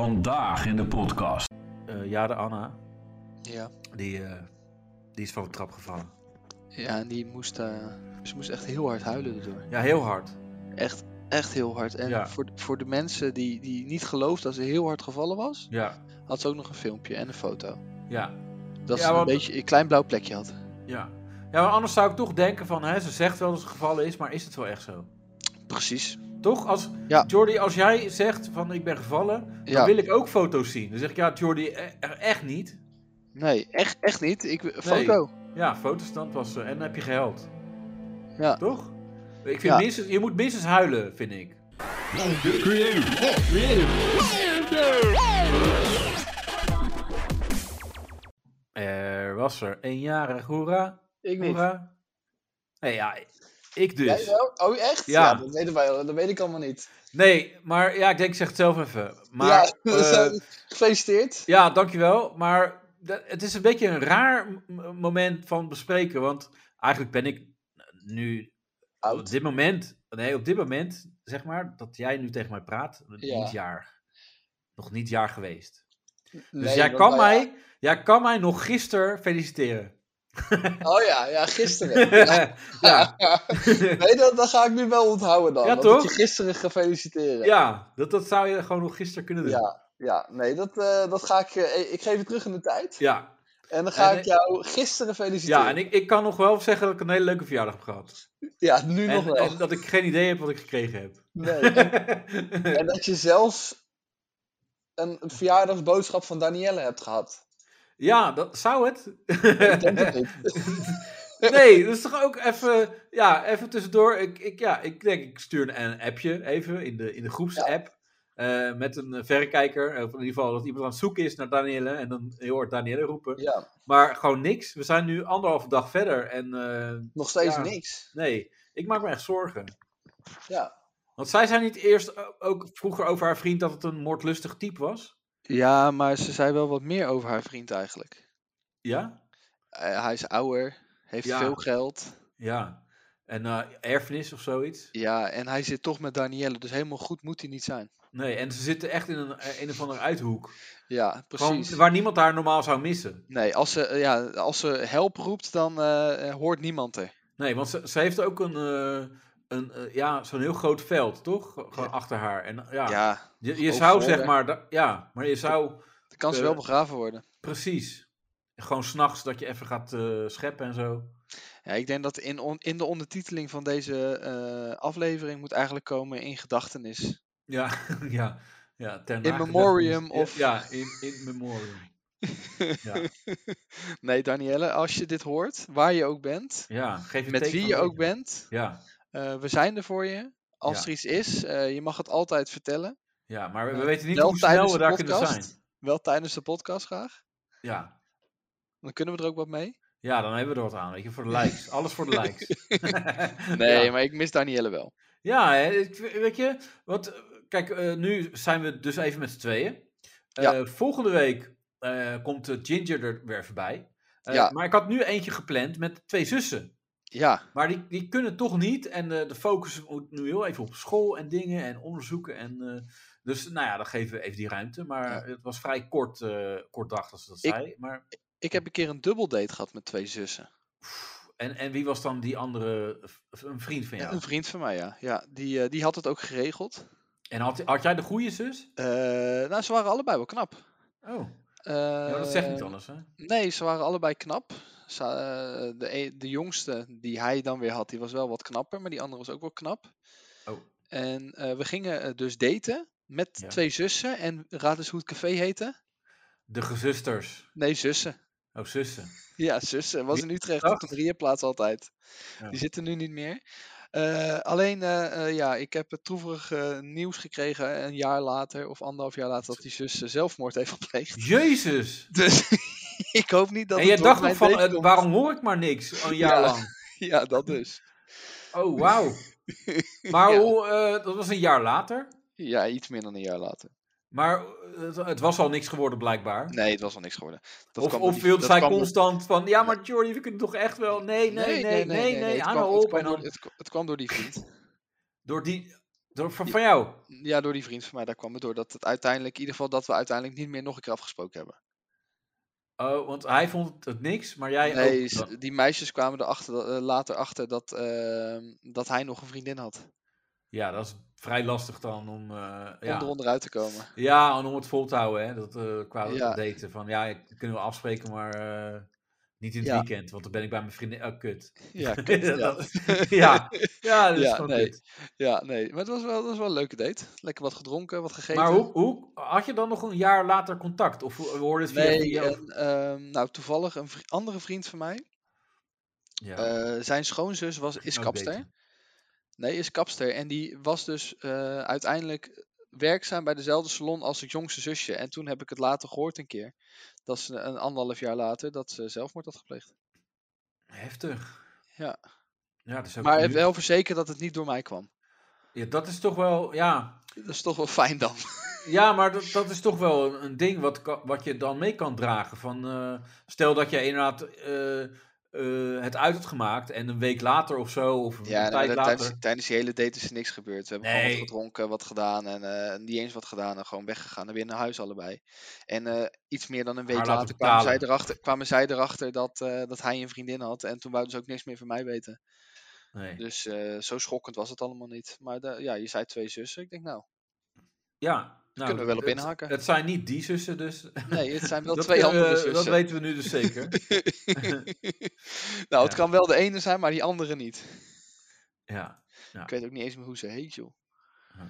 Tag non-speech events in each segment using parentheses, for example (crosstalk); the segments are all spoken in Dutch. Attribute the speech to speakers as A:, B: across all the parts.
A: Vandaag in de podcast.
B: Eh, ja, de Anna.
C: Ja,
B: Die, eh, die is van de trap gevallen.
C: ja en die moest, eh, ze moest echt heel hard huilen erdoor.
B: Ja, heel hard.
C: Echt, echt heel hard. En
B: Ja.
C: voor, voor de mensen die, die niet geloofden dat ze heel hard gevallen was,
B: Ja.
C: had ze ook nog een filmpje en een foto.
B: Ja.
C: Dat
B: Ja,
C: ze een
B: want-
C: beetje een klein blauw plekje had.
B: Ja. Ja, maar anders zou ik toch denken van, hè, ze zegt wel dat het gevallen is, maar is het wel echt zo?
C: Precies.
B: Toch? Als,
C: Ja.
B: Jordi, als jij zegt van ik ben gevallen, dan
C: Ja,
B: wil ik ook foto's zien. Dan zeg ik, ja, Jordi, e- e- echt niet.
C: nee, echt, echt niet. Ik, Foto.
B: Ja, foto's dan was eh, En dan heb je geheld.
C: Ja.
B: Toch? Ik vind
C: Ja.
B: minstens, je moet minstens huilen, vind ik. Er was er eenjarig, hoera.
C: Ik
B: Hoera. Nee, ja, ik dus.
C: Oh, echt?
B: Ja. Ja,
C: dat, weten wij, dat weet ik allemaal niet.
B: Nee, maar ja, ik denk, ik zeg het zelf even.
C: (laughs)
B: Maar, eh, ja,
C: gefeliciteerd.
B: dankjewel. Maar da- het is een beetje een raar m- m- moment van bespreken. Want eigenlijk ben ik nu
C: Oh,
B: op dit moment, nee, op dit moment, zeg maar, dat jij nu tegen mij praat,
C: Ja.
B: niet jaar. Nog niet jaar geweest. Dus jij, kan
C: nou
B: mij, jij kan mij nog gisteren feliciteren.
C: Oh ja, ja
B: (laughs)
C: gisteren. (laughs)
B: Ja, ja,
C: Nee, dat, dat ga ik nu wel onthouden dan.
B: Ja,
C: want ik
B: toch?
C: je gisteren gefeliciteerd.
B: dat, dat zou je gewoon nog gisteren kunnen doen. Ja.
C: Ja, ja, nee, dat, eh, dat ga ik. eh, ik geef het terug in de tijd.
B: Ja,
C: En dan ga
B: En
C: ik
B: ik-
C: jou gisteren feliciteren. Ja,
B: en ik, ik kan nog wel zeggen dat ik een hele leuke verjaardag heb gehad.
C: nu nog
B: En,
C: wel.
B: en dat ik geen idee heb wat ik gekregen heb.
C: Nee.
B: (laughs)
C: En, en dat je zelf een verjaardagsboodschap van Danielle hebt gehad.
B: ja, dat zou het.
C: Ik denk
B: (laughs)
C: het niet.
B: Nee, dat is toch ook even, ja, even tussendoor. Ik, ik, ja, ik denk, ik stuur een, een appje even in de, in de groepsapp. eh, met een eh, verrekijker. Of in ieder geval dat iemand aan het zoeken is naar Danielle. En dan je hoort Danielle roepen.
C: Ja,
B: Maar gewoon niks. We zijn nu anderhalve dag verder. En eh,
C: nog steeds
B: Ja.
C: niks.
B: nee, ik maak me echt zorgen.
C: Ja.
B: Want zij zei niet eerst o- ook vroeger over haar vriend dat het een moordlustig type was.
C: Ja, maar ze zei wel wat meer over haar vriend eigenlijk.
B: Ja?
C: Eh, hij is ouder, heeft
B: Ja.
C: veel geld.
B: Ja. En eh, erfenis of zoiets.
C: Ja, en hij zit toch met Danielle, dus helemaal goed moet hij niet zijn.
B: Nee, en ze zitten echt in een, eh, een of andere uithoek.
C: Ja,
B: Gewoon
C: precies.
B: waar niemand haar normaal zou missen.
C: Nee, als ze, eh, ja, als ze help roept, dan eh, eh, hoort niemand er.
B: Nee, want ze, ze heeft ook een, eh, een eh, ja, zo'n heel groot veld, toch? Gewoon achter haar. En ja,
C: Ja,
B: je, je
C: ook
B: zou
C: verder.
B: zeg maar, da- ja, maar je zou
C: dan kan ze
B: Eh,
C: wel begraven worden.
B: precies, gewoon s'nachts dat je even gaat eh, scheppen en zo. (laughs)
C: Ja, ik denk dat in, on- in de ondertiteling van deze eh, aflevering moet eigenlijk komen in gedachtenis.
B: Ja, ja, ja. ter
C: In
B: nagedachtenis.
C: memoriam
B: Ja,
C: of-
B: Ja, in, in memoriam. Ja.
C: nee, Danielle, als je dit hoort, waar je ook bent,
B: Ja, geef je
C: met
B: teken
C: wie
B: van
C: je ook
B: leven.
C: bent,
B: Ja,
C: eh, we zijn er voor je. Als
B: Ja.
C: er iets is, eh, je mag het altijd vertellen.
B: ja, maar we, we
C: Ja.
B: weten niet
C: Wel
B: hoe snel
C: tijdens
B: we
C: de
B: daar kunnen
C: podcast.
B: zijn.
C: Wel tijdens de podcast graag.
B: Ja.
C: Dan kunnen we er ook wat mee.
B: ja, dan hebben we er wat aan, weet je, voor de likes. Alles voor de likes.
C: (laughs)
B: (laughs)
C: Nee,
B: Ja.
C: maar ik mis Danielle wel.
B: Ja, hè, ik- weet je, want eh, kijk, eh, nu zijn we dus even met z'n tweeën. Eh,
C: Ja.
B: Volgende week eh, komt eh, Ginger er weer even bij. Eh,
C: Ja.
B: Maar ik had nu eentje gepland met twee zussen.
C: Ja,
B: Maar die, die kunnen toch niet. En eh, de focus moet nu heel even op school en dingen en onderzoeken. En, eh, dus nou ja, dan geven we even die ruimte. Maar
C: Ja.
B: het was vrij kort, eh kort dag als ze dat
C: Ik-
B: zei. Maar,
C: ik heb een keer een dubbeldate gehad met twee zussen.
B: pff, en, en wie was dan die andere, v- een vriend van jou?
C: Een vriend van mij, ja. ja die, eh, die had het ook geregeld.
B: En had, had jij de goede zus?
C: Eh, nou, ze waren allebei wel knap.
B: Oh, ja, maar dat zegt niet anders hè?
C: Eh, Nee, ze waren allebei knap. Ze, eh, de, e- de jongste die hij dan weer had, die was wel wat knapper, maar die andere was ook wel knap.
B: Oh.
C: En eh, we gingen eh, dus daten met
B: Ja.
C: twee zussen. En raad eens hoe het café heette?
B: De gezusters.
C: Nee, zussen.
B: Oh, zussen.
C: Ja, zussen. Was in Utrecht op de
B: Utrecht?
C: drieënplaats altijd.
B: Ja.
C: Die zitten nu niet meer. Eh, alleen, eh, eh, ja, ik heb het troevig eh, nieuws gekregen een jaar later of anderhalf jaar later dat die zus eh, zelfmoord heeft gepleegd.
B: Jezus!
C: (laughs) Dus (laughs) ik hoop niet dat.
B: en
C: het
B: jij
C: door
B: dacht
C: mijn
B: nog van,
C: date
B: eh,
C: komt.
B: waarom hoor ik maar niks al een jaar
C: (laughs) Ja.
B: lang?
C: Ja, dat dus.
B: Oh,
C: (laughs)
B: wauw. Maar
C: Ja.
B: hoe, eh, dat was een jaar later.
C: Ja, iets meer dan een jaar later.
B: Maar het, het was al niks geworden blijkbaar.
C: Nee, het was wel niks geworden. Dat
B: of
C: kwam
B: of
C: door die-
B: wilde
C: dat
B: zij
C: kwam door-
B: constant van, ja maar Jordi, we kunnen toch echt wel... Nee, nee, nee, nee, nee,
C: Het
B: aan
C: kwam-
B: de
C: het
B: op.
C: kwam
B: En
C: door-
B: dan
C: Het, k- het kwam door die vriend.
B: door die... Door, van, van jou?
C: Ja, door die vriend van mij, daar kwam het door. Dat het uiteindelijk, in ieder geval dat we uiteindelijk niet meer nog een keer afgesproken hebben.
B: Oh, want hij vond het niks, maar jij
C: Nee,
B: ook.
C: s- die meisjes kwamen erachter, dat- eh, later achter dat, ehm, dat hij nog een vriendin had.
B: Ja, dat is vrij lastig dan om... eh,
C: Om
B: ja.
C: eronder uit te
B: (laughs)
C: komen.
B: ja, en om het vol te houden, hè. Dat, eh qua
C: Ja.
B: daten. Van, ja, ik- kunnen we afspreken, maar eh, niet in het
C: Ja.
B: weekend. Want dan ben ik bij mijn vriendin... Oh, kut. (laughs)
C: Ja, kut,
B: Ja,
C: ja.
B: dat- ja, ja, dat is
C: Ja,
B: gewoon
C: nee.
B: kut.
C: ja, nee. Maar het was, wel, het was wel een leuke date. Lekker wat gedronken, wat gegeten.
B: Maar hoe, hoe, had je dan nog een jaar later contact? Of hoe- we hoorden het via...
C: Nee,
B: via-
C: en, ehm, nou toevallig een vri- andere vriend van mij.
B: ja,
C: eh, zijn schoonzus was, is
B: ook
C: kapster.
B: daten.
C: Nee, is kapster. En die was dus eh, uiteindelijk werkzaam bij dezelfde salon als het jongste zusje. En toen heb ik het later gehoord een keer. Dat ze een anderhalf jaar later dat ze zelfmoord had gepleegd.
B: Heftig.
C: Ja.
B: Ja, dat is ook
C: Maar
B: duur.
C: wel verzekerd dat het niet door mij kwam.
B: Ja, dat is toch wel... Ja,
C: Dat is toch wel fijn dan.
B: Ja, maar dat, dat is toch wel een, een ding wat, ka- wat je dan mee kan dragen. Van, eh, stel dat je inderdaad eh, eh, het uit had gemaakt en een week later of zo, of een
C: Ja, nee, maar
B: tijd
C: dat-
B: later.
C: tijdens, tijdens die hele date is er niks gebeurd. We hebben gewoon
B: Nee.
C: wat gedronken, wat gedaan en eh, niet eens wat gedaan en gewoon weggegaan en weer naar huis allebei. En eh, iets meer dan een week
B: Haar laten
C: later kwamen zij,
B: betalen.
C: erachter, kwamen zij erachter dat, eh, dat hij een vriendin had en toen wouden ze ook niks meer van mij weten.
B: Nee.
C: Dus eh, zo schokkend was het allemaal niet. Maar da- ja, je zei twee zussen. Ik denk nou,
B: Ja, nou,
C: kunnen we wel op
B: het-
C: inhaken.
B: Het zijn niet die zussen, dus.
C: nee, het zijn wel
B: (laughs) dat, eh,
C: twee
B: kunnen we-
C: andere
B: dat
C: zussen.
B: weten we nu dus zeker.
C: (laughs) nou, het
B: Ja.
C: kan wel de ene zijn, maar die andere niet.
B: ja.
C: Ik weet ook niet eens meer hoe ze heet, joh.
B: Hm.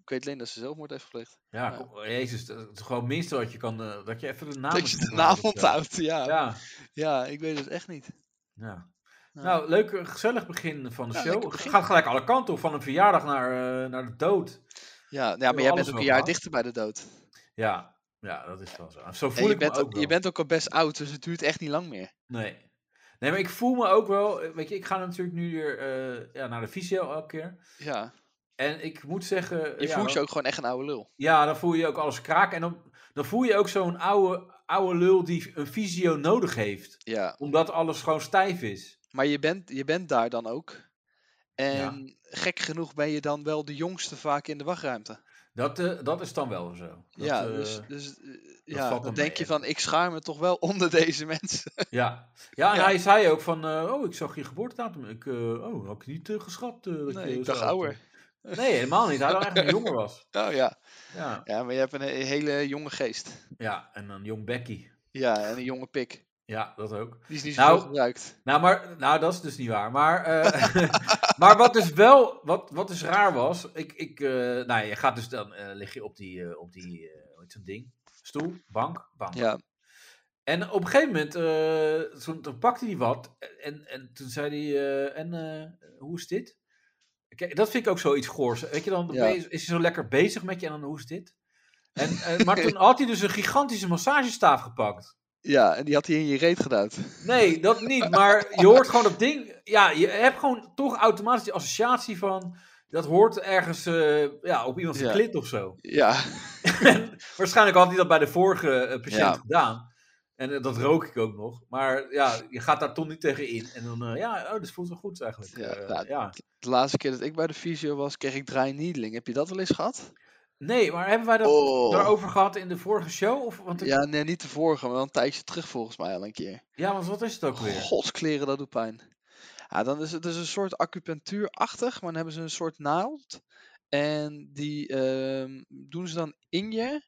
C: Ik weet alleen dat ze zelfmoord heeft gepleegd.
B: Ja,
C: Ja.
B: kom- jezus, dat is gewoon het minste wat je kan, eh, dat je even de naam
C: Dat je de naam onthoudt, ja. ja.
B: Ja,
C: ik weet het echt niet.
B: ja.
C: Ja.
B: Nou, leuk, eh, gezellig begin van de
C: Ja,
B: show.
C: lekker
B: Het
C: begin.
B: gaat gelijk alle kanten op, van een verjaardag naar, eh, naar de dood.
C: Ja, ja maar jij
B: alles
C: bent ook
B: wel
C: een jaar
B: gehad.
C: dichter bij de dood.
B: Ja, ja, dat is wel zo. Zo
C: En
B: voel
C: je
B: ik
C: bent,
B: me ook
C: ook,
B: wel.
C: je bent ook al best oud, dus het duurt echt niet lang meer.
B: Nee. nee, maar ik voel me ook wel... eh, Weet je, ik ga natuurlijk nu weer eh, ja, naar de fysio elke keer.
C: Ja.
B: En ik moet zeggen...
C: Je
B: ja,
C: voelt je
B: dan-
C: ook gewoon echt een oude lul.
B: Ja, dan voel je ook alles kraken. En dan, dan voel je ook zo'n oude, oude lul die een fysio nodig heeft.
C: Ja.
B: Omdat alles gewoon stijf is.
C: Maar je bent, je bent daar dan ook. En gek genoeg ben je dan wel de jongste vaak in de wachtruimte.
B: Dat, eh, dat is dan wel zo. Dat,
C: ja,
B: eh,
C: (laughs) dus, dus eh, ja,
B: valt
C: dan
B: wel
C: denk je
B: mee.
C: van, ik schaar me toch wel (laughs) onder deze mensen.
B: ja. ja, en
C: Ja.
B: hij zei ook van... eh, oh, ik zag je geboortedatum. Ik, eh, oh, had ik niet eh, geschat. eh, dat
C: Nee,
B: je
C: ik
B: zo
C: dacht
B: oud
C: ouder.
B: was. Nee, helemaal niet. Hij dacht
C: (laughs)
B: echt dat je jonger was.
C: Oh ja.
B: Ja.
C: Ja, maar je hebt een he- hele jonge geest.
B: Ja, en dan Jong Becky.
C: Ja, en een jonge pik.
B: Ja, dat ook.
C: Die is niet
B: Nou,
C: zo gebruikt.
B: Nou, maar, nou, dat is dus niet waar. Maar, eh, (laughs) maar wat dus wel, wat, wat dus raar was, ik, ik, eh, nou, je gaat dus dan, eh, lig je op die, eh, op die, eh, hoe heet zo'n ding? Stoel, bank, bank.
C: Ja.
B: En op een gegeven moment, eh, toen, toen pakte hij wat en, en toen zei hij, eh, en eh, hoe is dit? Kijk, dat vind ik ook zoiets goors. Weet je, dan
C: Ja.
B: is is hij zo lekker bezig met je en dan hoe is dit? En,
C: (laughs)
B: eh, maar toen had hij dus een gigantische massagestaaf gepakt.
C: Ja, en die had hij in je reet geduwd.
B: Nee, dat niet. Maar je hoort gewoon dat ding. Ja, je hebt gewoon toch automatisch die associatie van. Dat hoort ergens eh, ja, op iemands
C: Ja.
B: klit of zo. (laughs)
C: Ja,
B: En Waarschijnlijk had hij dat bij de vorige eh, patiënt
C: Ja.
B: gedaan. En eh, dat rook ik ook nog. Maar ja, je gaat daar toch niet tegen in. En dan, eh, ja, oh, dat voelt wel goed eigenlijk.
C: Ja,
B: Eh,
C: nou,
B: ja.
C: de laatste keer dat ik bij de fysio was, kreeg ik dry needling. Heb je dat wel eens gehad?
B: Nee, maar hebben wij dat
C: Oh.
B: daarover gehad in de vorige show? Of, want ik- ja.
C: Ja, nee, niet de vorige, maar wel een tijdje terug volgens mij al een keer.
B: want wat is het ook
C: Oh,
B: weer?
C: Godskleren, dat doet pijn. Ja, dan is het dus een soort acupunctuurachtig, maar dan hebben ze een soort naald. En die ehm, doen ze dan in je,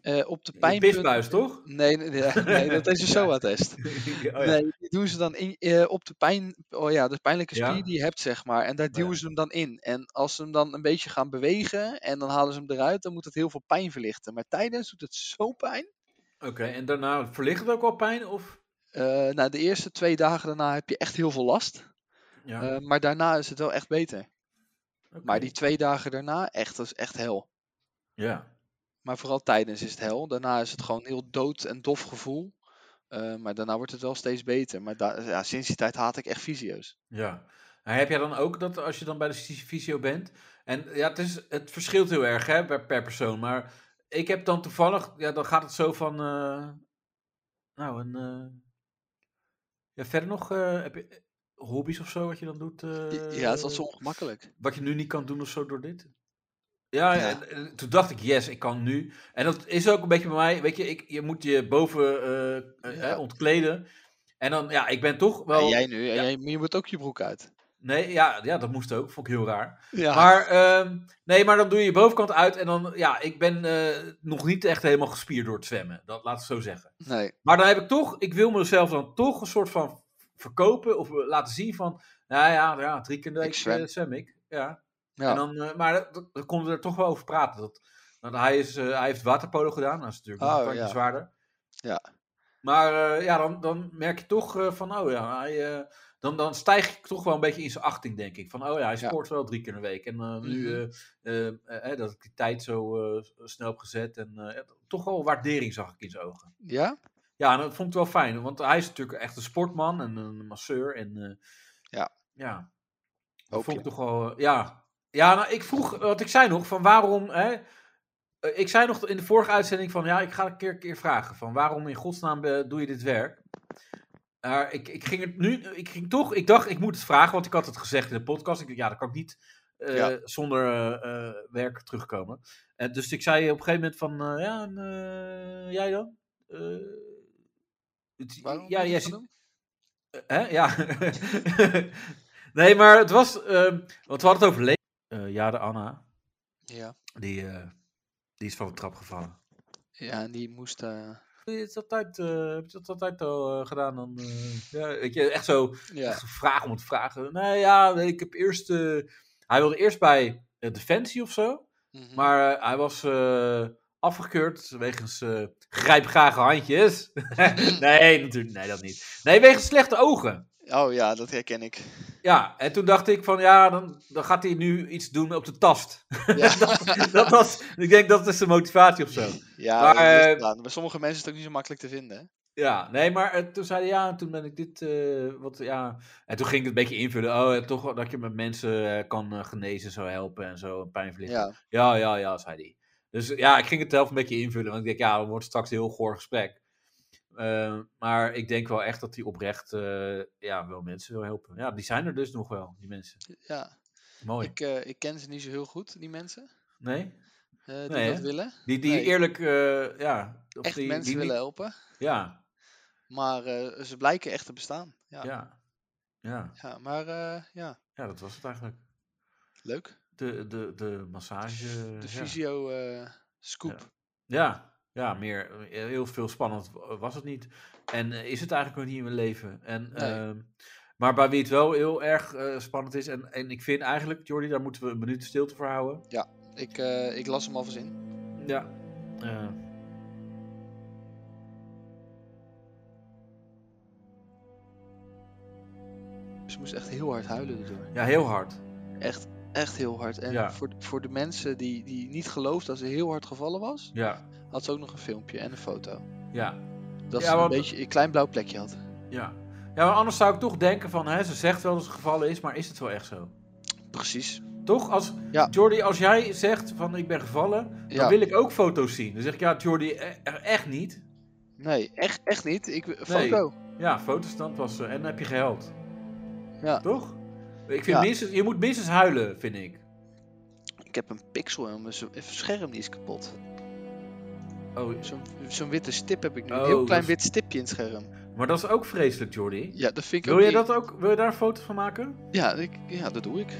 C: eh, op de
B: De
C: pijnpunt.
B: pisbuis, toch? (laughs)
C: Nee, nee, nee, nee, dat is een
B: Ja.
C: SOA-test.
B: Oh, ja.
C: Nee, die doen ze dan in, eh, op de pijn, oh ja, de pijnlijke
B: Ja. Oh,
C: spier die je hebt, zeg maar. En daar
B: ja.
C: duwen ze hem dan in. En als ze hem dan een beetje gaan bewegen en dan halen ze hem eruit, dan moet het heel veel pijn verlichten. Maar tijdens doet het zo pijn.
B: Oké, en daarna verlicht het ook al pijn? Of?
C: Eh nou, de eerste twee dagen daarna heb je echt heel veel last.
B: Ja,
C: Eh, maar daarna is het wel echt beter.
B: oké.
C: Maar die twee dagen daarna, echt, dat is echt hel.
B: Ja.
C: Maar vooral tijdens is het hel. Daarna is het gewoon heel dood en dof gevoel. Eh, maar daarna wordt het wel steeds beter. Maar da- ja, sinds die tijd haat ik echt fysio's.
B: Ja. Maar heb jij dan ook dat als je dan bij de fys- fysio bent? En ja, het, is, het verschilt heel erg hè, per, per persoon. Maar ik heb dan toevallig, ja, dan gaat het zo van. eh, nou, een. eh, ja, verder nog. eh, heb je, hobby's of zo wat je dan doet? eh,
C: Ja, het is altijd zo ongemakkelijk.
B: Wat je nu niet kan doen of zo door dit? Ja,
C: Ja.
B: En, en toen dacht ik, yes, ik kan nu. En dat is ook een beetje bij mij, weet je, ik, je moet je boven eh, eh,
C: Ja.
B: hè, ontkleden. En dan, ja, ik ben toch
C: En
B: wel...
C: jij nu, en
B: ja.
C: jij, maar je moet ook je broek uit.
B: Nee, ja, ja, dat moest ook, vond ik heel raar.
C: Ja,
B: Maar, ehm, nee, maar dan doe je je bovenkant uit en dan, ja, ik ben eh, nog niet echt helemaal gespierd door het zwemmen. Dat laat ik zo zeggen.
C: nee.
B: Maar dan heb ik toch, ik wil mezelf dan toch een soort van verkopen of eh, laten zien van, nou ja, ja drie keer in de
C: Ik
B: week eh,
C: zwem.
B: zwem. ik. Ja.
C: Ja.
B: En dan, eh, maar dat- dat- dan konden we er toch wel over praten. Dat, want hij, is, eh, hij heeft waterpolo gedaan, dat is natuurlijk nog
C: Oh,
B: een tandje
C: ja.
B: zwaarder.
C: Ja.
B: Maar eh, ja, dan, dan merk je toch eh, van, oh ja, hij, eh, dan, dan stijg ik toch wel een beetje in zijn achting, denk ik. Van, oh ja, hij
C: Ja.
B: sport wel drie keer in de week. En eh, nu
C: Mhm.
B: eh, eh, eh, dat ik die tijd zo eh, snel heb gezet. En eh, toch wel waardering zag ik in zijn ogen.
C: Ja?
B: Ja, en dat vond ik wel fijn. Want hij is natuurlijk echt een sportman en een masseur. En, eh,
C: Ja.
B: Ja. Dat
C: Hoop
B: vond ik
C: je.
B: toch wel... eh, ja. Ja, nou, ik vroeg... Wat ik zei nog, van waarom... Hè, eh, ik zei nog in de vorige uitzending van... Ja, ik ga een keer, keer vragen. Van waarom in godsnaam eh, doe je dit werk? Maar ik, ik ging het nu... Ik ging toch... Ik dacht, ik moet het vragen. Want ik had het gezegd in de podcast. Ik dacht, ja, dat kan ik niet eh,
C: Ja.
B: zonder eh, eh, werk terugkomen. En dus ik zei op een gegeven moment van... eh, ja, en, eh, jij dan? Eh, het-
C: Waarom
B: ja,
C: moet
B: jij
C: je dat
B: zit,
C: doen?
B: Hè? Ja. nee, maar het was. ehm, want we hadden het over Le Eh, ja, de Anna.
C: Ja.
B: Die, eh, die is van de trap gevallen.
C: ja, en die moest... eh,
B: Heb je dat altijd, eh, heb je dat altijd al eh, gedaan? Dan, eh, ja, weet je, echt zo.
C: ja.
B: Echt vragen om het vragen. Nee, ja, ik heb eerst. eh, hij wilde eerst bij eh, Defensie of zo.
C: mhm.
B: Maar eh, hij was eh, afgekeurd wegens eh grijpgrage handjes. (laughs) nee, natuurlijk. Nee, dat niet. Nee, wegens slechte ogen.
C: Oh ja, dat herken
B: (laughs)
C: ik.
B: Ja, en toen dacht ik van ja, dan, dan gaat hij nu iets doen op de tast.
C: Ja,
B: (laughs) dat was, ik denk dat is de motivatie of zo.
C: ja
B: Maar,
C: dat is
B: eh,
C: gedaan. bij sommige mensen is het ook niet zo makkelijk te vinden. hè?
B: Ja, nee, maar eh, toen zei hij ja, en toen ben ik dit, eh, wat ja. En toen ging ik het een beetje invullen. Oh, eh, toch wel dat je met mensen eh, kan eh, genezen, zo helpen en zo, en pijn verlichten.
C: Ja,
B: Ja, ja, ja, zei hij. Dus ja, ik ging het zelf een beetje invullen. Want ik denk, ja, dan wordt het straks een heel goor gesprek. Eh, maar ik denk wel echt dat hij oprecht eh, ja, wel mensen wil helpen. Ja, die zijn er dus nog wel, die mensen.
C: ja.
B: Mooi.
C: Ik, eh, ik ken ze niet zo heel goed, die mensen
B: Nee?
C: eh, die
B: Nee,
C: dat
B: hè?
C: willen.
B: Die, die
C: Nee.
B: eerlijk, eh, ja. Of
C: Echt
B: die,
C: mensen
B: die niet-
C: willen helpen,
B: Ja,
C: maar eh, ze blijken echt te bestaan. Ja,
B: ja,
C: ja.
B: ja. Ja,
C: maar eh, ja,
B: dat was het eigenlijk.
C: leuk.
B: De, de, de massage.
C: Dus De
B: ja.
C: visio eh, scoop.
B: Ja, ja, meer. Heel veel spannend wa- was het niet. En eh, is het eigenlijk nog niet in mijn leven. En,
C: Nee.
B: ehm, maar bij wie het wel heel erg eh, spannend is. En, en ik vind eigenlijk, Jordi, daar moeten we een minuut stilte voor houden.
C: Ik, eh, ik las hem alvast in.
B: Ja. eh.
C: Ze moest echt heel hard huilen erdoor.
B: ja, heel hard.
C: Echt, echt heel hard. En
B: Ja.
C: voor, voor de mensen die, die niet geloofden dat ze heel hard gevallen was,
B: Ja,
C: had ze ook nog een filmpje en een foto.
B: ja.
C: Dat
B: Ja,
C: ze een
B: want-
C: beetje een klein blauw plekje had.
B: Ja. ja, maar anders zou ik toch denken van, hè, ze zegt wel dat het gevallen is, maar is het wel echt zo?
C: Precies.
B: Toch? Als,
C: Ja.
B: Jordi, als jij zegt van ik ben gevallen, dan
C: Ja.
B: wil ik ook foto's zien. Dan zeg ik, ja Jordi, e- e- echt niet.
C: Nee, echt, echt niet. Ik, Foto.
B: Ja, fotostand was ze. En dan heb je gehuild.
C: Ja.
B: Toch? Ik vind
C: Ja.
B: minstens, je moet minstens huilen, vind ik.
C: Ik heb een pixel en mijn zo- mijn scherm die is kapot.
B: Oh,
C: Zo'n zo'n witte stip heb ik nu. een
B: Oh,
C: heel klein
B: dat
C: wit stipje in het scherm.
B: maar dat is ook vreselijk, Jordi.
C: Ja, dat vind ik
B: Wil
C: ook
B: je
C: niet-
B: dat ook? Wil je daar een foto van maken?
C: Ja, ik, ja, dat doe ik.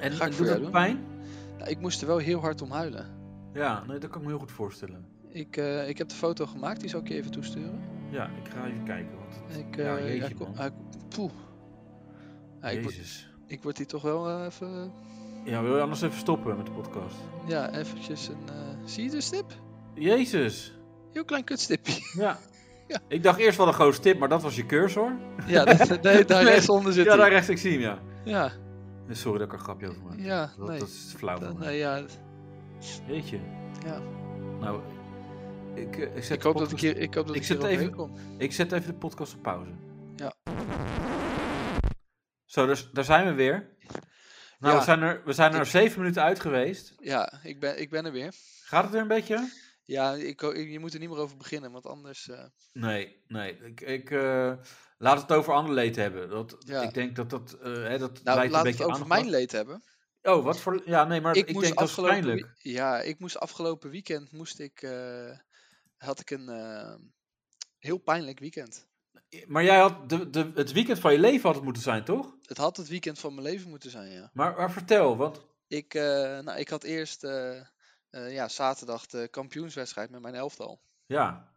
B: En,
C: Ga ik
B: en
C: voor
B: doet
C: jou
B: het
C: doen.
B: pijn?
C: Nou, ik moest er wel heel hard om huilen.
B: Ja, nee, dat kan ik me heel goed voorstellen.
C: Ik, eh, ik heb de foto gemaakt, die zal ik je even toesturen.
B: Ja, ik ga even kijken. Want het-
C: Ik,
B: Ja,
C: eh,
B: jeetje,
C: hij ko-
B: man.
C: hij ko- poeh. Ja, ik, word-
B: Jezus.
C: ik word hier toch wel eh, even...
B: Ja, wil je anders even stoppen met de podcast?
C: Ja, eventjes een... eh, zie je de stip?
B: Jezus.
C: Heel klein kutstipje. (laughs)
B: Ja.
C: Ja.
B: Ik dacht eerst wel een groot tip, maar dat was je cursor.
C: ja, dat, nee, daar
B: Nee.
C: rechtsonder zit
B: Ja, daar
C: hij.
B: rechts, ik zie hem, ja.
C: Ja,
B: Nee, Sorry dat ik er een grapje over maak.
C: ja,
B: dat,
C: nee.
B: dat is flauw
C: Dat-
B: van
C: nee,
B: mij.
C: ja.
B: Weet je.
C: Ja.
B: Nou, ik, eh, ik, zet
C: Ik
B: de
C: hoop dat ik
B: podcast-
C: hier, ik hoop dat
B: Ik
C: ik
B: zet
C: hier overheen
B: even-
C: kom.
B: ik zet even de podcast op pauze.
C: Ja.
B: Zo, dus, daar zijn we weer. Nou,
C: Ja.
B: we zijn er, we zijn er
C: Ik-
B: zeven minuten uit geweest.
C: Ja, ik ben, ik ben er weer.
B: Gaat het weer een beetje?
C: Ja, ik, ho- je moet er niet meer over beginnen, want anders... eh,
B: Nee, nee. Ik, ik eh, laat het over ander leed hebben. Dat,
C: Ja.
B: Ik denk dat dat, eh, hè, dat
C: nou,
B: leidt
C: laat
B: een
C: het
B: beetje
C: over
B: aan
C: mijn leed hebben.
B: Oh, wat voor... Ja, nee, maar ik, denk dat is
C: afgelopen
B: pijnlijk.
C: wie- Ja, ik moest afgelopen weekend moest ik, eh, had ik een eh, heel pijnlijk weekend.
B: Maar jij had de, de, het weekend van je leven had het moeten zijn, toch?
C: Het had het weekend van mijn leven moeten zijn, ja.
B: Maar, maar vertel, want...
C: Ik, eh, nou, ik had eerst eh, eh, ja, zaterdag de kampioenswedstrijd met mijn elftal.
B: Ja.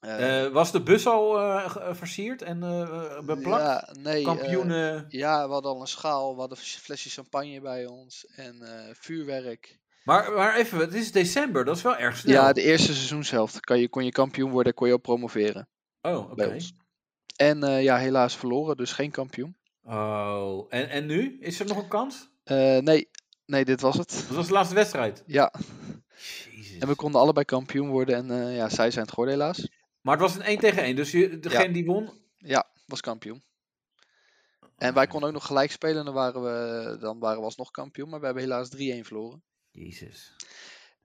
C: Eh,
B: Eh, was de bus al eh, ge- eh, versierd en eh, beplakt?
C: Ja, nee, eh,
B: Kampioenen...
C: ja, we hadden al een schaal, we hadden fles- flesjes champagne bij ons en eh, vuurwerk.
B: Maar, maar even, het is december, dat is wel erg snel.
C: Ja, de eerste seizoenshelft kan je, kon je kampioen worden, kon je ook promoveren
B: oh, oké.
C: bij ons. En eh, ja, helaas verloren, dus geen kampioen.
B: Oh, en, en nu? Is er nog een kans?
C: Eh, nee, nee, dit was het.
B: Dat was de laatste wedstrijd.
C: Ja,
B: Jezus.
C: en we konden allebei kampioen worden en eh, ja, zij zijn het geworden helaas.
B: Maar het was een 1 tegen 1, dus je, degene die won...
C: Ja, was kampioen. En wij konden ook nog gelijk spelen en dan waren we, dan waren we alsnog kampioen. Maar we hebben helaas 3-1 verloren.
B: Jezus.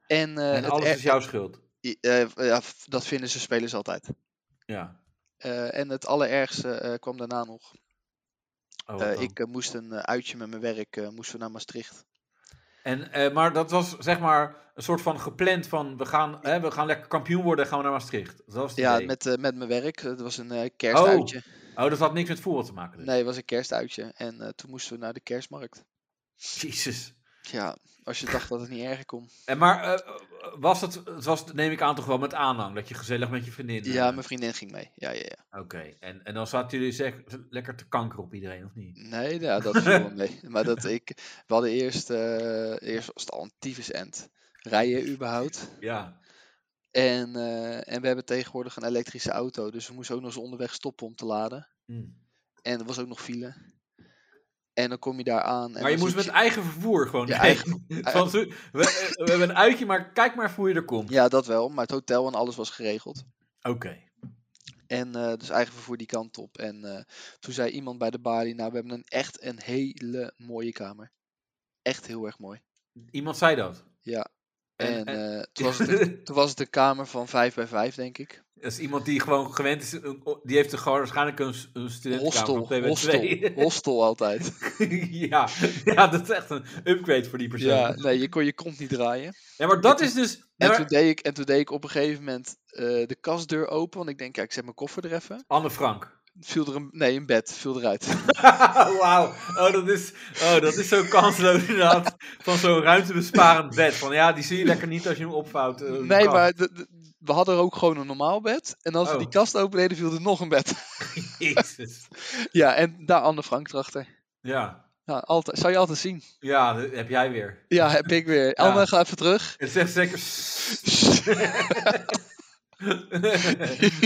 C: En, eh,
B: en
C: het
B: alles
C: er-
B: is jouw schuld.
C: i- eh, v- ja, f- dat vinden ze spelers altijd.
B: Ja.
C: Eh, en het allerergste eh, kwam daarna nog.
B: Oh,
C: Eh,
B: oh.
C: ik eh, moest een eh, uitje met mijn werk, eh, moesten we naar Maastricht.
B: En, eh, maar dat was zeg maar een soort van gepland van we gaan, hè, we gaan lekker kampioen worden en gaan we naar Maastricht. Dat was het
C: Ja,
B: idee.
C: met, eh, met mijn werk. Het was een eh, kerstuitje.
B: Oh, dat had niks met voetbal te maken. Dus.
C: Nee, het was een kerstuitje. En eh, toen moesten we naar de kerstmarkt.
B: Jezus.
C: Ja, als je dacht dat het niet erger kon.
B: En maar eh, was het, het was, neem ik aan, toch wel met aanhang dat je gezellig met je vriendin. eh,
C: Ja, mijn vriendin ging mee. Ja, ja,
B: (laughs)
C: ja.
B: Oké, en, en dan zaten jullie zeg, lekker te kanker op iedereen, of niet?
C: Nee, ja, dat viel wel mee. Maar dat ik, we hadden eerst, eh, eerst was het al een tyfusend. Rijden überhaupt.
B: Ja.
C: En, eh, en we hebben tegenwoordig een elektrische auto. Dus we moesten ook nog eens onderweg stoppen om te laden.
B: Hm.
C: En er was ook nog file. En dan kom je daar aan. En
B: Maar je
C: dan
B: moest
C: zie
B: met
C: ik-
B: eigen vervoer gewoon.
C: Ja,
B: heen.
C: eigen-
B: (laughs) Van, zo- we, eh, we hebben een uitje, maar kijk maar even hoe je er komt.
C: Ja, dat wel. Maar het hotel en alles was geregeld.
B: Oké.
C: En eh, dus eigen vervoer die kant op. En eh, toen zei iemand bij de balie, nou we hebben een, echt een hele mooie kamer. Echt heel erg mooi.
B: Iemand zei dat.
C: Ja.
B: En-
C: En,
B: en-
C: eh, toen, was het
B: (laughs)
C: een, toen was het een kamer van 5 bij 5, denk ik.
B: Dat is iemand die gewoon gewend is, een- die heeft een, gewoon waarschijnlijk een, s- een studentenkamer
C: Hostel,
B: op 2
C: hostel, hostel altijd.
B: (laughs) ja, ja, dat is echt een upgrade (laughs) voor die persoon.
C: Ja,
B: Ja,
C: nee, je kon je kont niet draaien.
B: maar dat is dus...
C: En
B: maar-
C: toen deed ik, en toen deed ik op een gegeven moment eh, de kastdeur open, want ik denk, ja, ik zet mijn koffer er even.
B: Anne Frank. (laughs)
C: Viel er een, nee, een bed, viel eruit.
B: Wauw. Oh, dat is, oh, dat is zo kansloos inderdaad. Van zo'n ruimtebesparend bed. Van ja, die zie je lekker niet als je hem opvouwt. eh, de
C: (laughs) Nee,
B: kast.
C: maar de- de- we hadden ook gewoon een normaal bed. En als we die
B: Oh.
C: kast open deden, viel er nog een bed. (laughs)
B: Jezus.
C: Ja, en daar Anne Frank erachter.
B: Ja.
C: Ja, altijd, zou je altijd zien.
B: Ja, dat heb jij weer.
C: Ja, heb ik weer. Anne, ga even
B: (laughs)
C: terug.
B: Het zegt zeker...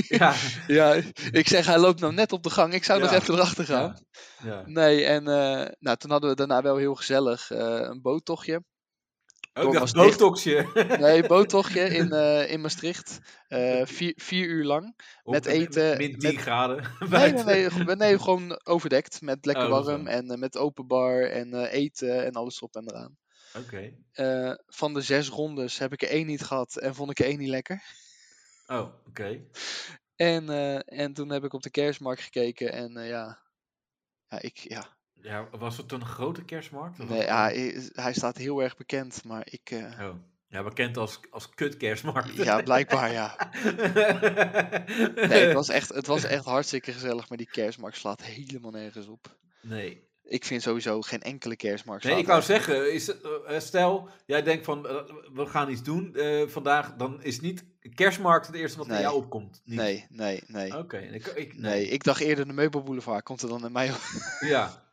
B: ja.
C: ja, ik zeg, hij loopt nou net op de gang. Ik zou nog
B: Ja.
C: even erachter gaan.
B: Ja. ja.
C: Nee, en eh, nou, toen hadden we daarna wel heel gezellig eh, een boottochtje.
B: Ook dat
C: was dicht.
B: botoxje.
C: Nee, boottochtje in, eh, in Maastricht. Eh, vier, vier uur lang. Met
B: Op-
C: eten,
B: Min 10
C: met-
B: graden. (laughs)
C: Nee,
B: buiten.
C: nee, nee, gewoon- nee, gewoon overdekt. Met lekker
B: Oh,
C: warm
B: zo.
C: en eh, met open bar en eh, eten en alles op en eraan.
B: Oké.
C: Eh, van de zes rondes heb ik er één niet gehad en vond ik er één niet lekker.
B: Oh, oké.
C: En, eh, en toen heb ik op de kerstmarkt gekeken en eh, ja. Ja, ik, ja.
B: Ja, was het een grote kerstmarkt? of
C: Nee,
B: wat?
C: ja, hij- hij staat heel erg bekend, maar ik.
B: (laughs)
C: eh,
B: Oh. Ja, bekend als, als kutkerstmarkt.
C: ja, blijkbaar ja. Nee, het was, echt, het was echt hartstikke gezellig, maar die kerstmarkt slaat helemaal nergens op.
B: (laughs) nee.
C: Ik vind sowieso geen enkele kerstmarkt.
B: Nee,
C: slaat
B: ik wou
C: ergens
B: zeggen, is, het, eh, eh, stel, jij denkt van, eh, we gaan iets doen eh, vandaag, dan is niet kerstmarkt het eerste wat in
C: Nee.
B: jou opkomt.
C: op.
B: Niet. Oh,
C: Nee, nee, nee.
B: Oké, ik, ik,
C: Nee, ik dacht eerder de meubelboulevard. Komt er dan naar mij? op? (laughs)
B: Ja.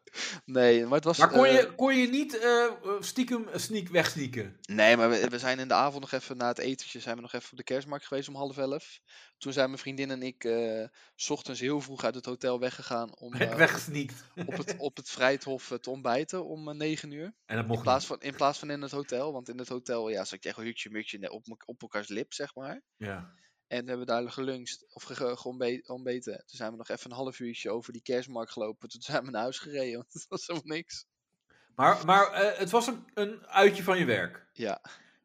C: Nee, maar het was.
B: Maar kon
C: eh,
B: je, kon je niet eh, stiekem een sneak wegsneaken?
C: Nee, maar we, we zijn in de avond nog even na het etentje zijn we nog even op de kerstmarkt geweest om half elf. Toen zijn mijn vriendin en ik eh, 's ochtends heel vroeg uit het hotel weggegaan
B: (laughs)
C: om eh,
B: Weggesneakt.
C: op, het, op het Vrijthof eh, te ontbijten om eh, negen uur.
B: En dat
C: In
B: mocht
C: plaats,
B: niet.
C: van, in plaats van in het hotel, want in het hotel ja, zat je echt hutje mutje ne- op, mek- op elkaars lip, zeg maar.
B: Ja.
C: En we hebben daar geluncht of ge- ge- geontbe- ontbeten. Toen zijn we nog even een half uurtje over die kerstmarkt gelopen. Toen zijn we naar huis gereden, (laughs) want het was helemaal niks.
B: Maar, maar eh, het was een, een uitje van je werk.
C: Ja.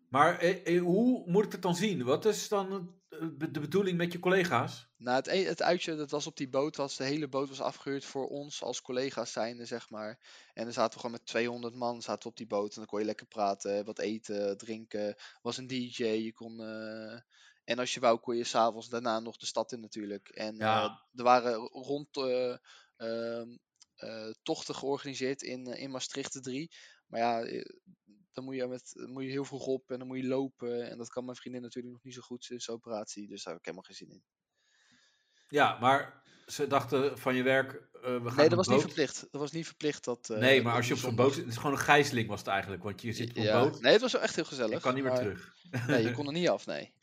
B: Maar eh, eh, hoe moet ik het dan zien? Wat is dan eh, de bedoeling met je collega's?
C: Nou, het, e- het uitje dat was op die boot, was, de hele boot was afgehuurd voor ons als collega's zijnde, zeg maar. En dan zaten we gewoon met 200 man zaten we op die boot en dan kon je lekker praten, wat eten, drinken. Er was een DJ, je kon... eh, En als je wou, kon je s'avonds daarna nog de stad in natuurlijk. En eh,
B: Ja.
C: er waren r- rond eh, ehm, eh, tochten georganiseerd in, eh, in Maastricht de 3. Maar ja, eh, dan moet je, met, dan moet je heel vroeg op en dan moet je lopen. En dat kan mijn vriendin natuurlijk nog niet zo goed, ze is operatie. Dus daar heb ik helemaal geen zin in.
B: Ja, maar ze dachten van je werk, eh, we gaan
C: Nee, dat
B: op
C: was
B: boot.
C: niet verplicht. Dat was niet verplicht dat. eh,
B: nee, maar
C: dat
B: als je op
C: die
B: zo'n
C: zondag-
B: boot zit, het is gewoon een gijzeling was het eigenlijk. Want je zit op een boot,
C: Nee, het was wel echt heel gezellig.
B: je kan niet meer
C: maar-
B: terug.
C: Nee, je kon er niet af, nee.
B: Oké.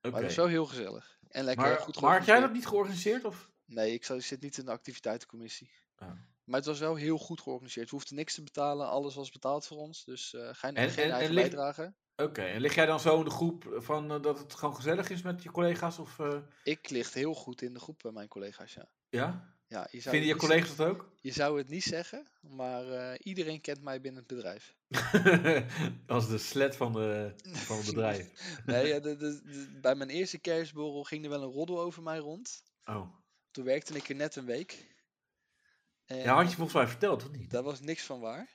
C: Maar het was wel heel gezellig. En lekker
B: Maar,
C: goed
B: maar had jij dat
C: georganiseerd.
B: niet georganiseerd? Of?
C: Nee, ik, zou, ik zit niet in de activiteitencommissie.
B: Ah.
C: Maar het was wel heel goed georganiseerd. We hoefden niks te betalen. Alles was betaald voor ons. Dus eh geen,
B: En-
C: geen
B: en- en
C: eigen
B: ligt-
C: bijdrage.
B: Oké, en lig jij dan zo in de groep van eh, dat het gewoon gezellig is met je collega's? Of, eh,
C: Ik ligt heel goed in de groep bij mijn collega's, ja.
B: ja?
C: ja je, zou
B: Vinden je
C: het niet-
B: collega's dat ook? (laughs)
C: je zou het niet zeggen, maar eh, iedereen kent mij binnen het bedrijf.
B: Als de slet van, de, van het bedrijf.
C: Nee, ja, de- de- de- bij mijn eerste kerstborrel ging er wel een roddel over mij rond.
B: Oh.
C: Toen werkte ik er net een week. En
B: Ja, had je volgens mij verteld, of niet?
C: Daar was niks van waar.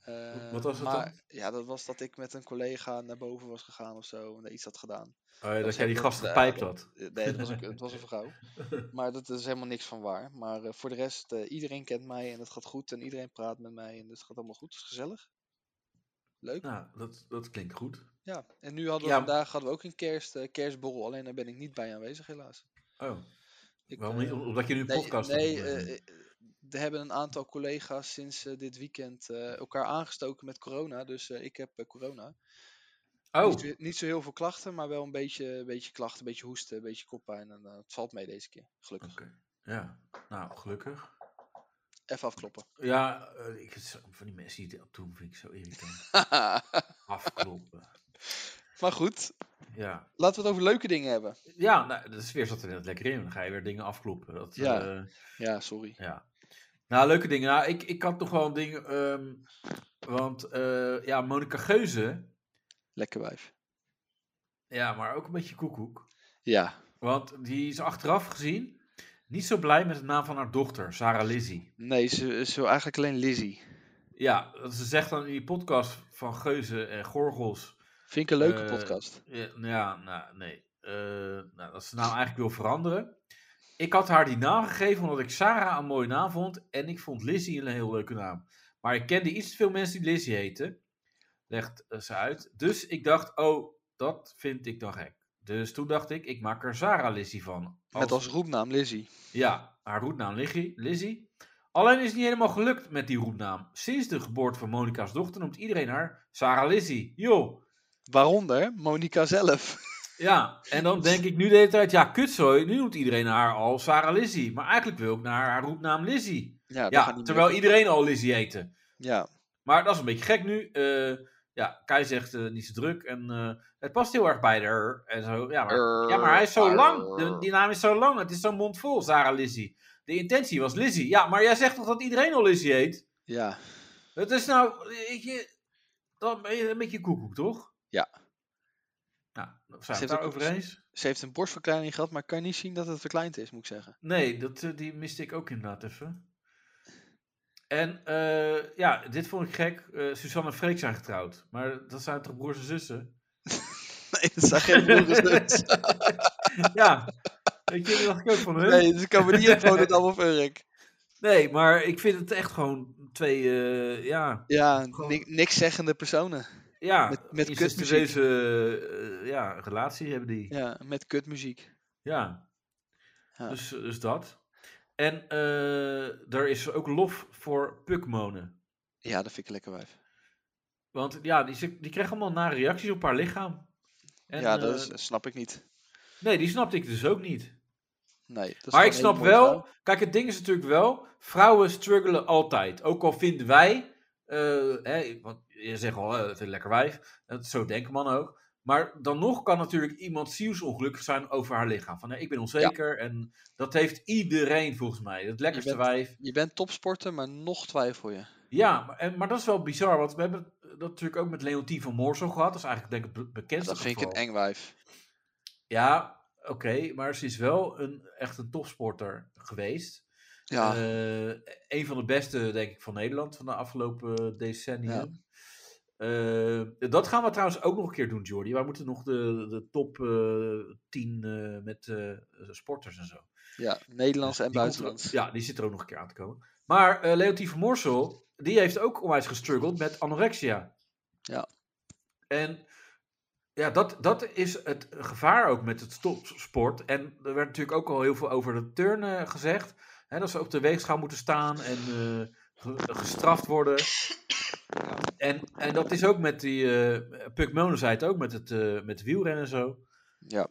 C: Eh,
B: wat was het
C: maar,
B: dan?
C: Ja, dat was dat ik met een collega naar boven was gegaan of zo. En iets had gedaan.
B: Oh, ja, dat
C: was
B: jij die
C: even-
B: gast
C: ja,
B: gepijpt
C: dat-
B: had.
C: Eh, Nee, dat was, een- het was een
B: (laughs)
C: vrouw. Maar dat is helemaal niks van waar. Maar eh, voor de rest, eh, iedereen kent mij en het gaat goed. En iedereen praat met mij en het gaat allemaal goed. Het is gezellig. Leuk.
B: Nou, dat, dat klinkt goed.
C: Ja, en nu hadden we
B: Ja.
C: vandaag hadden we ook een kerst, eh, kerstborrel. Alleen daar ben ik niet bij aanwezig, helaas.
B: Oh,
C: Ik,
B: waarom
C: eh,
B: niet? Om- Omdat je nu een
C: Nee,
B: podcast
C: nee
B: doet, eh.
C: eh, eh, er hebben een aantal collega's sinds eh, dit weekend eh, elkaar aangestoken met corona. Dus eh, ik heb eh, corona.
B: oh,
C: eh, Niet, zo- niet zo heel veel klachten, maar wel een beetje, een beetje klachten, een beetje hoesten, een beetje koppijn. En eh, het valt mee deze keer, gelukkig.
B: oké. ja. Nou, gelukkig.
C: Even afkloppen. (laughs)
B: Ja, eh, ik, van die mensen die het doen vind ik zo
C: (laughs)
B: irritant. Afkloppen.
C: maar goed,
B: Ja.
C: laten we het over leuke dingen hebben.
B: Ja, nou, de sfeer zat er net lekker in. Dan ga je weer dingen afkloppen. Dat,
C: Ja.
B: eh,
C: Ja, sorry.
B: ja. Nou, leuke dingen. Nou, ik, ik had nog wel een ding. ehm, want eh, ja, Monica Geuze.
C: Lekker wijf.
B: Ja, maar ook een beetje koekoek.
C: Ja.
B: Want die is achteraf gezien niet zo blij met de naam van haar dochter, Sarah Lizzie.
C: Nee, ze, ze wil eigenlijk alleen Lizzie.
B: Ja, dat ze zegt dan in die podcast van Geuze en Gorgels.
C: Vind ik een leuke
B: Eh,
C: podcast.
B: Ja, nou ja, nou, nee. Eh, nou, dat ze de naam eigenlijk wil veranderen. Ik had haar die naam gegeven omdat ik Sarah een mooie naam vond. En ik vond Lizzie een heel leuke naam. Maar ik kende iets te veel mensen die Lizzie heten. Legt eh, ze uit. Dus ik dacht, oh, dat vind ik dan gek. Dus toen dacht ik, ik maak er Sarah Lizzie van.
C: Met als roepnaam Lizzie.
B: Ja, haar roepnaam Lizzie. Lizzie. Alleen is het niet helemaal gelukt met die roepnaam. Sinds de geboorte van Monica's dochter noemt iedereen haar Sarah Lizzie. Joh.
C: Waaronder Monica zelf. (laughs)
B: Ja, en dan denk ik nu de hele tijd, ja, kutzooi, nu noemt iedereen haar al Sarah Lizzie. Maar eigenlijk wil ik naar haar roepnaam Lizzie.
C: ja, dat gaat
B: Ja,
C: niet
B: terwijl
C: meer.
B: iedereen al Lizzie heette.
C: Ja,
B: Maar dat is een beetje gek nu. Eh, ja, Kai zegt eh, niet zo druk en eh, het past heel erg bij haar. En zo, ja, maar, ja, maar hij is
C: Eh,
B: zo lang. De- die naam is zo lang. Het is zo'n mond vol, Sarah Lizzie. De intentie was Lizzie. Ja, maar jij zegt toch dat iedereen al Lizzie heet?
C: Ja.
B: Het is nou, weet je, dan ben je een beetje koekoek, toch?
C: Ja.
B: Nou, zijn we
C: heeft
B: het
C: ook-
B: daarover eens?
C: Ze heeft een borstverkleining gehad, maar ik kan niet zien dat het verkleind is, moet ik zeggen.
B: Nee, dat, eh, die miste ik ook inderdaad even. En eh, ja, dit vond ik gek. Eh, Suzanne en Freek zijn getrouwd. Maar dat zijn toch broers en zussen?
C: (laughs) Nee, dat zijn geen
B: (laughs)
C: dus- broers. en zussen.
B: ja. Weet je, dat dacht ik ook van hun. Nee.
C: Nee, ze kan me
B: (laughs)
C: niet invoeren dat allemaal Urk.
B: maar ik vind het echt gewoon twee, eh, ja...
C: Ja,
B: Gewoon-
C: ni- niks zeggende personen.
B: Ja, dus
C: Met- met
B: incestueuze eh, ja, relatie hebben die. Ja.
C: Ja, met kutmuziek. Ja.
B: Dus, dus dat. En eh, er is ook lof voor Pukmonen.
C: Ja, dat vind ik een lekker wijf.
B: Want ja, die, ze- die kreeg allemaal nare reacties op haar lichaam. En,
C: ja, dat
B: eh,
C: is, snap ik niet. Nee,
B: Nee, die snapte ik dus ook niet.
C: dat is
B: Maar
C: gewoon
B: ik
C: een
B: snap
C: hele mooie
B: wel,
C: vrouw.
B: kijk, het ding is natuurlijk wel, vrouwen struggelen altijd. Ook al vinden wij, eh, hè, want je zegt al, eh, het is een lekker wijf, dat, zo denken mannen ook. Maar dan nog kan natuurlijk iemand zielsongelukkig zijn over haar lichaam. Van, nee, ik ben onzeker en dat heeft iedereen volgens mij. Het lekkerste
C: bent-
B: wijf.
C: Je bent topsporter, maar nog twijfel je.
B: Ja, maar, en, maar dat is wel bizar, want we hebben het dat natuurlijk ook met Leontien van Moorsel gehad. Dat is eigenlijk denk ik het be- bekendste
C: Dat vind ik een
B: geval.
C: eng wijf.
B: Ja, oké, maar ze is wel een, echt een topsporter geweest.
C: Ja,
B: Eh, een van de beste, denk ik, van Nederland van de afgelopen decennia. Eh, dat gaan we trouwens ook nog een keer doen, Jordi. Wij moeten nog de, de top eh 10 eh, met eh, sporters en zo.
C: ja Nederlands en
B: Die komt er-
C: buitenlands.
B: ja, die zit er ook nog een keer aan te komen. Maar eh Leontien van Morsel, die heeft ook onwijs gestruggeld met anorexia.
C: Ja.
B: En ja, dat, dat is het gevaar ook met het topsport. En er werd natuurlijk ook al heel veel over de turnen gezegd. Hè, dat ze op de weegschaal moeten staan en eh, ge- gestraft worden. En, en dat is ook met die... eh Puk Monen zei het ook, met het, eh, met wielrennen en zo.
C: Ja,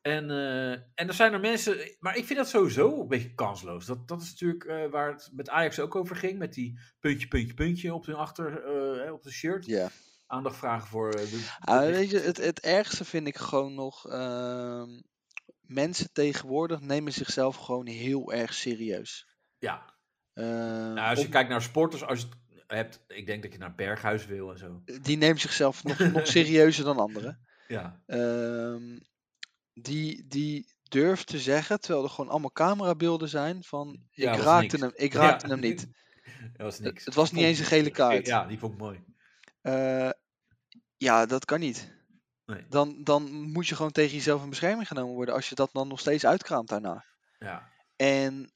B: En, eh, en er zijn er mensen, maar ik vind dat sowieso een beetje kansloos. Dat, dat is natuurlijk eh, waar het met Ajax ook over ging. Met die puntje, puntje, puntje op hun achter, eh, hè, op de shirt.
C: ja.
B: Aandacht vragen voor eh, de...
C: Ah, weet je, het, het ergste vind ik gewoon nog. ehm, mensen tegenwoordig nemen zichzelf gewoon heel erg serieus.
B: Ja,
C: Ehm,
B: nou, als je
C: om-
B: kijkt naar sporters, als je het hebt, ik denk dat je naar Berghuis wil en zo.
C: die neemt
B: (laughs)
C: zichzelf nog, nog serieuzer dan anderen.
B: Ja,
C: Ehm, die, die durft te zeggen, terwijl er gewoon allemaal camerabeelden zijn van
B: Ja,
C: ik
B: was
C: raakte
B: niks.
C: hem, ik raakte
B: Ja.
C: hem niet.
B: dat was
C: Het,
B: niks.
C: het was niet eens een gele kaart.
B: Ja, die vond ik mooi.
C: Eh, ja, dat kan niet.
B: Nee.
C: Dan, dan moet je gewoon tegen jezelf in bescherming genomen worden als je dat dan nog steeds uitkraamt daarna.
B: Ja,
C: En,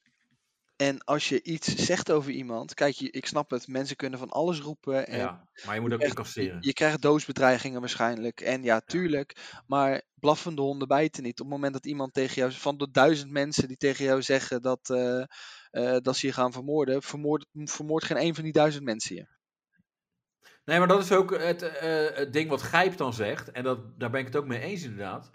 C: en als je iets zegt over iemand, kijk, je- ik snap het, mensen kunnen van alles roepen. En
B: ja. maar je moet ook
C: echt-
B: incasseren.
C: Je krijgt doosbedreigingen waarschijnlijk. En ja, tuurlijk. Maar blaffende honden bijten niet. Op het moment dat iemand tegen jou, van de duizend mensen die tegen jou zeggen dat, eh, eh, dat ze je gaan vermoorden, vermoord, vermoord geen één van die duizend mensen je.
B: Nee, maar dat is ook het, eh, het ding wat Gijp dan zegt. En dat, daar ben ik het ook mee eens, inderdaad.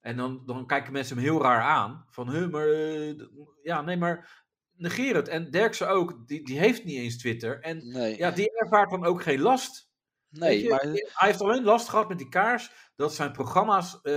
B: En dan, dan kijken mensen hem heel raar aan. Van, huh, maar... eh, d- ja, nee, maar negeer het. En Derksen ook, die, die heeft niet eens Twitter. En
C: Nee,
B: ja, die ervaart dan ook geen last. Weet
C: nee
B: je,
C: maar,
B: Hij heeft alleen last gehad met die kaars... dat zijn programma's eh,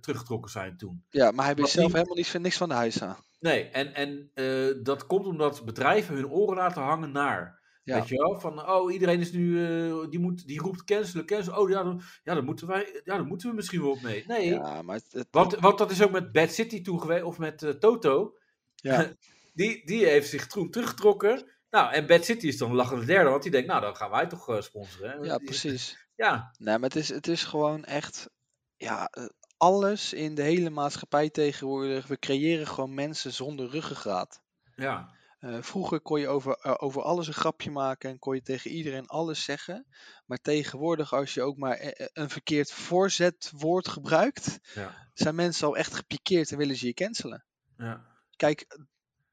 B: teruggetrokken zijn toen.
C: ja, maar hij
B: wat
C: wist zelf
B: die-
C: helemaal niks, van- niks van de huis aan.
B: Nee, en, en eh, dat komt omdat bedrijven hun oren laten hangen naar.
C: Ja.
B: Weet je wel? Van, oh, iedereen is nu, eh, die, moet, die roept cancelen, cancelen. Oh, ja, dan, ja, dan moeten wij, ja, dan moeten we misschien wel op mee. Nee,
C: Ja, maar het, het-
B: want, want dat is ook met Bad City toen geweest, of met eh, Toto. (laughs)
C: ja,
B: Die, die heeft zich toen teruggetrokken. Nou, en Bad City is dan lachende derde, want die denkt, nou, dan gaan wij toch eh, sponsoren. hè?
C: ja,
B: Die-
C: precies.
B: Ja,
C: Nee, maar het is, het is gewoon echt. Ja, eh, alles in de hele maatschappij tegenwoordig. We creëren gewoon mensen zonder ruggengraat.
B: ja,
C: Eh, vroeger kon je over, eh, over alles een grapje maken en kon je tegen iedereen alles zeggen. Maar tegenwoordig, als je ook maar eh, eh, een verkeerd voorzetwoord gebruikt,
B: Ja.
C: zijn mensen al echt gepikeerd en willen ze je cancelen.
B: ja.
C: Kijk,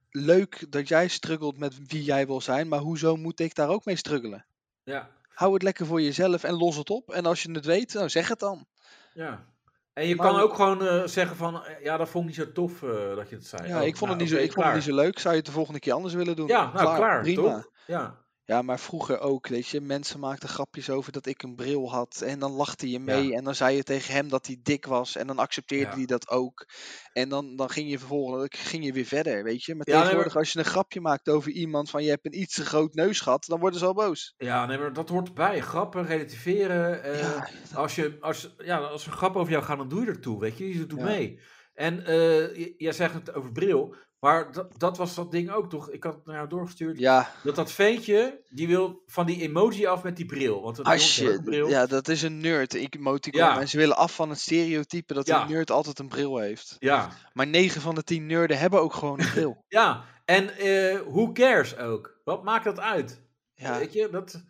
C: leuk dat jij struggelt met wie jij wil zijn, maar hoezo moet ik daar ook mee struggelen?
B: ja.
C: Hou het lekker voor jezelf en los het op. En als je het weet, nou zeg het dan.
B: Ja. En je
C: Maar-
B: kan ook gewoon eh, zeggen van, eh, ja, dat vond ik niet zo tof eh, dat je het zei.
C: Ja,
B: Oh,
C: ik vond, het,
B: nou,
C: niet zo,
B: oké,
C: ik vond het niet
B: klaar.
C: zo leuk. Zou je het de volgende keer anders willen doen?
B: Ja, nou, klaar,
C: prima.
B: toch? Ja,
C: Ja, maar vroeger ook, weet je, mensen maakten grapjes over dat ik een bril had en dan lachte je mee en dan zei je tegen hem dat hij dik was en dan accepteerde
B: Ja.
C: hij dat ook. En dan, dan ging je vervolgens ging je weer verder, weet je.
B: Ja,
C: Maar
B: nee, maar-
C: tegenwoordig als je een grapje maakt over iemand van je hebt een iets te groot neusgat, dan worden ze al boos.
B: ja nee, maar dat hoort erbij. Grappen, relativeren. eh,
C: ja,
B: als, je, als, ja, als er grappen over jou gaan, dan doe je ertoe, weet je. Je doet
C: Ja.
B: mee. En eh, j- jij zegt het over bril, maar dat, dat was dat ding ook, toch? Ik had het naar jou doorgestuurd.
C: ja,
B: Dat dat ventje, die wil van die emoji af met die bril. Want dat
C: als
B: jongens hebben
C: je,
B: ook bril.
C: Ah, ja, dat is een nerd, ik emoticon.
B: Ja.
C: En ze willen af van het stereotype dat
B: Ja.
C: een nerd altijd een bril heeft.
B: ja.
C: Maar 9 van de 10 nerden hebben ook gewoon een
B: (laughs)
C: bril.
B: Ja, en eh who cares ook? Wat maakt dat uit?
C: Ja.
B: Weet je, dat...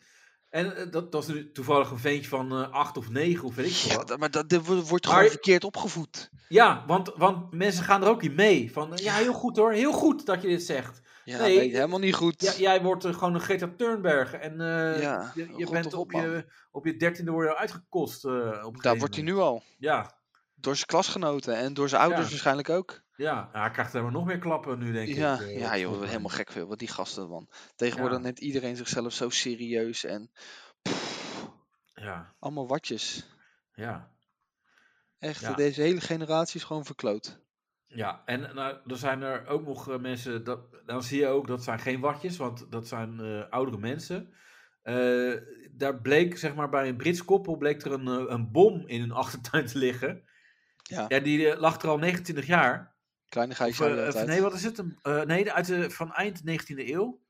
B: En eh, dat, dat is nu toevallig een ventje van eh, acht of negen of weet ik veel
C: Ja,
B: wat.
C: dat- maar dat, dit wo- wordt
B: Maar-
C: gewoon verkeerd opgevoed.
B: Ja, want, want mensen gaan er ook in mee. Van, eh, ja, heel goed hoor, heel goed dat je dit zegt.
C: Ja,
B: Nee,
C: nee,
B: ik-
C: helemaal niet goed.
B: Ja, jij wordt eh, gewoon een Greta Thunberg. En eh,
C: Ja,
B: je, je
C: rot
B: bent
C: toch
B: op
C: op,
B: je, op je dertiende word je al uitgekost. eh, op een
C: Daar
B: gegeven
C: wordt hij
B: moment.
C: nu al.
B: Ja,
C: Door zijn klasgenoten en door zijn ouders
B: Ja.
C: waarschijnlijk ook.
B: ja. Nou, hij krijgt helemaal nog meer klappen nu, denk
C: Ja,
B: ik. eh,
C: ja joh,
B: volgens
C: helemaal
B: mij.
C: gek veel. Wat die gasten man. Tegenwoordig
B: Ja.
C: neemt iedereen zichzelf zo serieus en
B: Ja,
C: allemaal watjes.
B: ja.
C: Echt,
B: Ja.
C: deze hele generatie is gewoon verkloot.
B: Ja, en nou, er zijn er ook nog eh, mensen, dat, dan zie je ook, dat zijn geen watjes, want dat zijn eh, oudere mensen. Eh, Eh, daar bleek, zeg maar, bij een Brits koppel bleek er een, eh, een bom in hun achtertuin te liggen.
C: Ja.
B: ja, die eh, lag er al 29 jaar.
C: Kleinigheidje
B: Of,
C: aan de
B: eh,
C: hele
B: of
C: tijd.
B: nee, wat is het? Een- eh, nee, uit de, van eind 19e eeuw.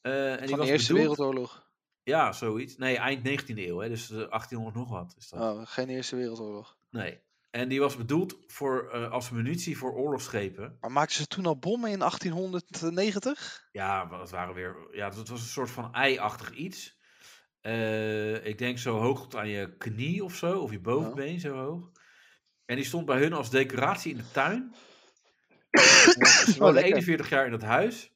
B: Eh, en die
C: Van
B: was
C: de Eerste
B: bedoeld-
C: Wereldoorlog.
B: Ja, zoiets. Nee, eind 19e eeuw, hè, dus eh, 1800 nog wat. Is dat.
C: Oh, geen Eerste Wereldoorlog.
B: Nee. En die was bedoeld voor, eh, als munitie voor oorlogsschepen.
C: Maar maakten ze toen al bommen in 1890?
B: Ja, wa- het waren weer. Ja, het was een soort van ei-achtig iets. Eh, ik denk zo hoog tot aan je knie of zo, of je bovenbeen zo hoog. En die stond bij hun als decoratie in de tuin.
C: Dat is
B: Ze woonde
C: lekker.
B: 41 jaar in dat huis.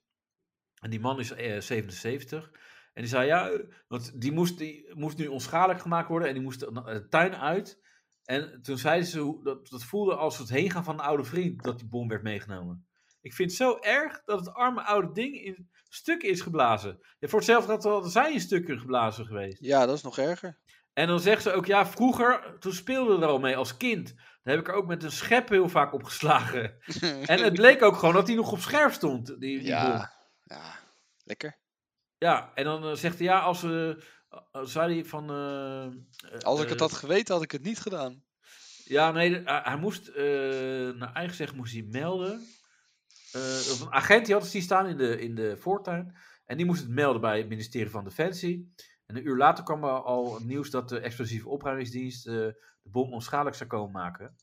B: En die man is eh, 77. En die zei, ja, eh, want die moest, die moest nu onschadelijk gemaakt worden. En die moest de de tuin uit. En toen zeiden ze, hoe- dat, dat voelde als het heen gaan van een oude vriend, dat die bom werd meegenomen. Ik vind het zo erg dat het arme oude ding in stukken is geblazen. En voor hetzelfde had hadden zij in stukken geblazen geweest.
C: Ja, dat is nog erger.
B: En dan zegt ze ook, ja, vroeger, toen speelden we er al mee als kind. Daar heb ik er ook met een schep heel vaak op geslagen. En het bleek ook gewoon dat hij nog op scherp stond. Die, die bom.
C: ja. ja, lekker.
B: ja, en dan eh, zegt hij, ja, als ze. zei hij van. eh, eh,
C: Als ik het
B: eh,
C: had geweten, had ik het niet gedaan.
B: Ja, nee, de- hij, hij moest. eh, naar eigen zeggen moest hij melden. Eh, of een agent die had dus die staan in de, in de voortuin. En die moest het melden bij het ministerie van Defensie. En een uur later kwam er al het nieuws dat de explosieve opruimingsdienst eh, de bom onschadelijk zou komen maken.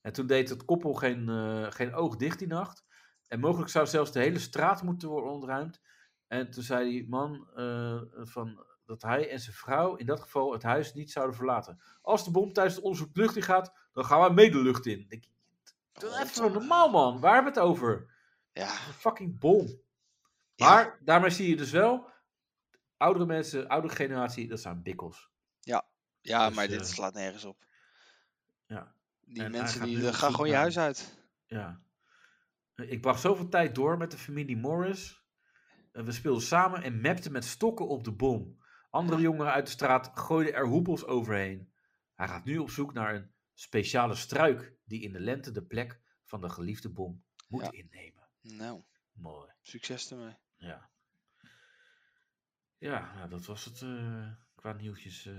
B: En toen deed het koppel geen, eh, geen oog dicht die nacht. En mogelijk zou zelfs de hele straat moeten worden ontruimd. En toen zei die man eh, van, dat hij en zijn vrouw in dat geval het huis niet zouden verlaten. Als de bom tijdens het onderzoek de lucht in gaat, dan gaan wij mee de lucht in. Ik, doe even zo normaal man, waar hebben we het over?
C: Ja,
B: Een fucking bom.
C: Ja.
B: Maar daarmee zie je dus wel, oudere mensen, oudere generatie, dat zijn bikkels.
C: ja
B: Dus,
C: maar dit
B: eh,
C: slaat nergens op.
B: ja.
C: Die
B: En hij
C: mensen
B: gaat
C: die
B: nu
C: eh,
B: op
C: gaan
B: zoek
C: gewoon je
B: naar-
C: huis uit.
B: Ja. Ik bracht zoveel tijd door met de familie Morris. En We speelden samen en mapten met stokken op de bom. Andere jongeren uit de straat gooiden er hoepels overheen. Hij gaat nu op zoek naar een speciale struik die in de lente de plek van de geliefde bom moet
C: Ja.
B: innemen.
C: Nou,
B: Mooi.
C: succes ermee.
B: Ja. Ja, nou, dat was het eh, qua nieuwtjes. eh.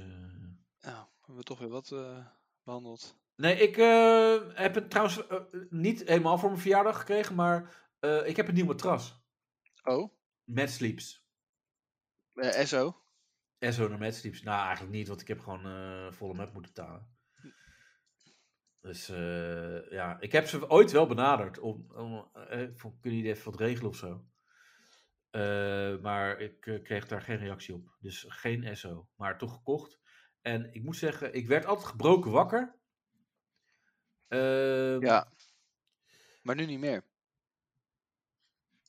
C: Nou, we hebben toch weer wat eh, behandeld.
B: Nee, ik eh, heb het trouwens eh, niet helemaal voor mijn verjaardag gekregen, maar eh, ik heb een nieuw matras.
C: Oh,
B: Mad Sleeps.
C: eh, SO.
B: En zo naar Mad Sleeps. Nou, eigenlijk niet, want ik heb gewoon eh, volle map moeten betalen. Dus eh, ja, ik heb ze ooit wel benaderd. Om, om, eh, van, kunnen jullie even wat regelen of zo? Eh, maar ik eh, kreeg daar geen reactie op. Dus geen SO. Maar toch gekocht. En ik moet zeggen, ik werd altijd gebroken wakker. Ehm,
C: Ja. Maar nu niet meer.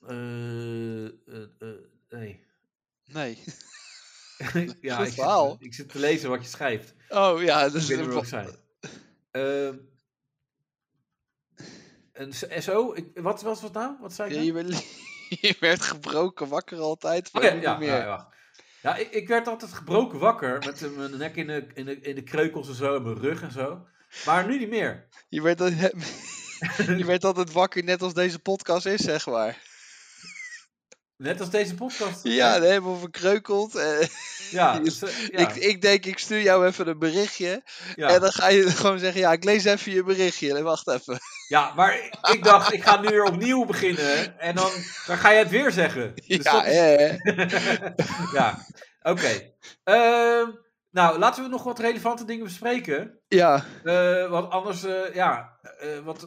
B: eh, eh, eh, nee. (laughs)
C: Nee. (laughs)
B: ja,
C: Goed
B: ik zit,
C: verhaal.
B: ik zit te lezen wat je schrijft.
C: Oh ja, dat
B: Ik
C: is
B: weet niet meer
C: een
B: wat ik zei. Ehm, een S- SO? Ik, wat was wat nou? Wat zei ik
C: Ja,
B: nou?
C: je, werd, (laughs) je werd gebroken wakker altijd, maar
B: Oh ja,
C: nu
B: ja,
C: niet meer.
B: ja, wacht. Ja, ik, ik werd altijd gebroken wakker met eh, mijn nek in de, in, de, in de kreukels en zo, en mijn rug en zo. Maar nu niet meer.
C: Je,
B: (laughs)
C: werd, (laughs) al- je werd altijd wakker, net als deze podcast is, zeg maar.
B: Net als deze podcast.
C: Ja, nee, helemaal verkreukeld. eh,
B: ja, dus, eh, ja,
C: Ik, ik denk, ik stuur jou even een berichtje.
B: ja.
C: En dan ga je (laughs) gewoon zeggen, ja, ik lees even je berichtje. En wacht even.
B: Ja, maar ik- ik dacht, ik ga nu weer opnieuw beginnen. En dan, dan ga je het weer
C: (laughs)
B: zeggen. (laughs) Dus
C: ja,
B: dat is-
C: hè.
B: (laughs) ja. oké. Ehm, nou, laten we nog wat relevante dingen bespreken.
C: ja,
B: Eh, want anders, eh, ja, eh, want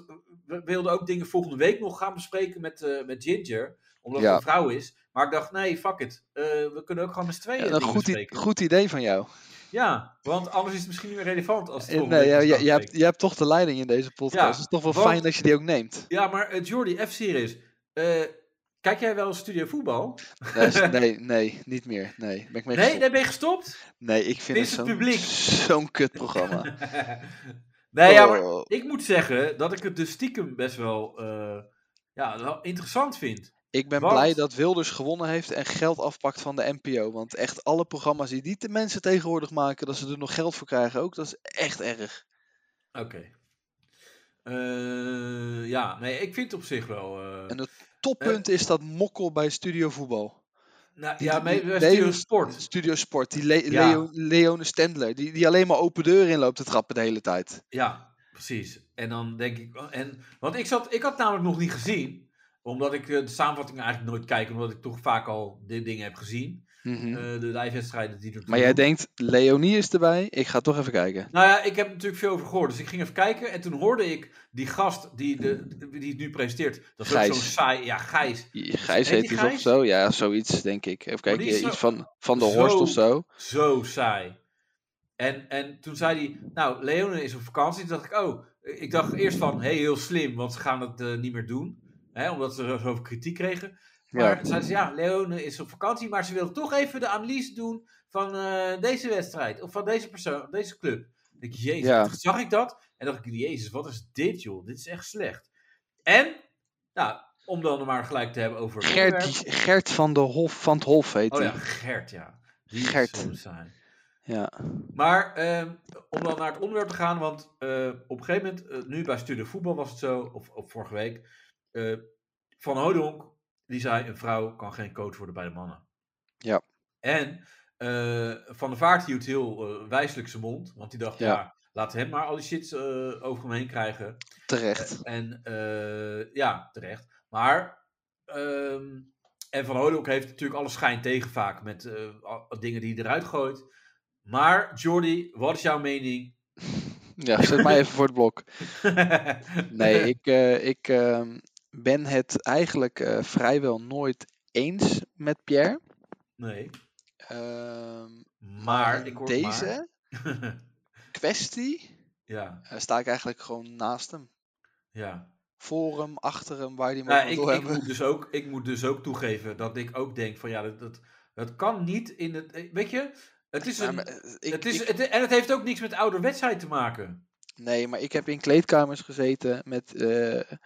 B: we wilden ook dingen volgende week nog gaan bespreken met, eh, met Ginger. Omdat
C: Ja.
B: het een vrouw is. Maar ik dacht, nee, fuck it. Eh, we kunnen ook gewoon met z'n tweeën
C: Ja, een
B: dingen
C: goed, i-
B: bespreken.
C: goed idee van jou.
B: Ja, want anders is het misschien niet meer relevant als het
C: Eh,
B: volgende
C: Nee,
B: week
C: ja,
B: is
C: je, je,
B: afgesproken.
C: hebt, je hebt toch de leiding in deze podcast.
B: Ja,
C: het is toch wel
B: want-
C: fijn dat je die ook neemt.
B: Ja, maar eh, Jordi, F-series. eh, kijk jij wel Studio Voetbal? (laughs)
C: Nee, s- nee, nee, niet meer. Nee, ben ik mee
B: Nee,
C: gestopt.
B: daar ben je gestopt? (laughs)
C: Nee, ik
B: Dit
C: vind het
B: is het
C: zo'n
B: publiek.
C: zo'n kutprogramma.
B: nee, ja, maar
C: Oh,
B: ik moet zeggen dat ik het dus stiekem best wel, eh, ja, wel interessant vind.
C: ik ben
B: want-
C: blij dat Wilders gewonnen heeft en geld afpakt van de NPO. Want echt alle programma's die, die de mensen tegenwoordig maken, dat ze er nog geld voor krijgen ook, dat is echt erg.
B: Oké. Eh, ja, nee, ik vind het op zich wel. eh,
C: En het toppunt is dat mokkel bij Studio Voetbal.
B: Nou,
C: Die-
B: ja,
C: die-
B: maar
C: de
B: studio
C: hele-
B: sport.
C: Studio Sport, die Le-
B: Ja.
C: Leo- Leone Stendler, die, die alleen maar open deuren in loopt te trappen de hele tijd.
B: Ja, precies. En dan denk ik, en, want ik, zat, ik had namelijk nog niet gezien, omdat ik eh, de samenvattingen eigenlijk nooit kijk, omdat ik toch vaak al dit dingen heb gezien.
C: Mhm.
B: Eh, de live-wedstrijden die er toe
C: maar jij
B: doen.
C: denkt, Leonie is erbij, ik ga toch even kijken.
B: Nou ja, ik heb er natuurlijk veel over gehoord. Dus ik ging even kijken. En toen hoorde ik die gast die, de, die het nu presenteert. Dat is ook
C: Gijs.
B: zo'n saai. Ja, Gijs.
C: Je- Gijs
B: Heet
C: heet
B: die
C: hij toch
B: Gijs?
C: zo? Ja, zoiets denk ik. Even
B: die
C: kijken,
B: is
C: ja, iets
B: zo-
C: van, van de
B: zo-
C: Horst of zo.
B: Zo saai. En, en toen zei hij, nou, Leone is op vakantie. Toen dacht ik, oh, ik dacht eerst van, hey, heel slim, want ze gaan het eh, niet meer doen. Hè, omdat ze er zoveel kritiek kregen. Maar
C: Ja.
B: toen zei ze, ja, Leone is op vakantie, maar ze wil toch even de analyse doen van eh, deze wedstrijd. Of van deze persoon, deze club. Ik denk, jezus,
C: Ja.
B: toen zag ik dat? En dacht ik, jezus, wat is dit, joh? Dit is echt slecht. En, nou, om dan maar gelijk te hebben over... het
C: Gert,
B: onderwerp.
C: die- Gert van, de Hof, van het Hof heet
B: Oh
C: hij.
B: ja,
C: ja.
B: Gert, ja. Die
C: Gert.
B: Gert. Zo saai.
C: Ja.
B: Maar ehm, om dan naar het onderwerp te gaan, want eh, op een gegeven moment, eh, nu bij Studio Voetbal was het zo, of, of vorige week, eh, Van Hodonk, die zei, een vrouw kan geen coach worden bij de mannen.
C: Ja.
B: En eh, Van der Vaart hield heel eh, wijselijk zijn mond, want die dacht,
C: Ja.
B: ja, laat hem maar al die shit eh, over hem heen krijgen.
C: Terecht.
B: En eh, ja, terecht. Maar. ehm, en Van Hooydonk heeft natuurlijk alle schijn tegen vaak met eh, al- dingen die hij eruit gooit. Maar Jordi, wat is jouw mening? (laughs)
C: Ja, zet mij even voor het blok.
B: (laughs)
C: Nee, ik, eh, ik ehm, ben het eigenlijk eh, vrijwel nooit eens met Pierre.
B: nee.
C: Ehm,
B: Maar ik
C: in
B: hoor
C: deze
B: maar. (laughs)
C: kwestie
B: ja,
C: eh, sta ik eigenlijk gewoon naast hem.
B: ja.
C: Voor hem, achter hem, waar hij maar
B: Nou,
C: wil
B: ik, ik,
C: hebben.
B: moet dus ook, ik moet dus ook toegeven dat ik ook denk van ja, dat, dat, dat kan niet in het. eh, Weet je, het is
C: Maar
B: een.
C: me- eh, ik-
B: het is,
C: ik-
B: het, en het heeft ook niks met ouderwetsheid te maken.
C: nee, maar ik heb in kleedkamers gezeten met eh,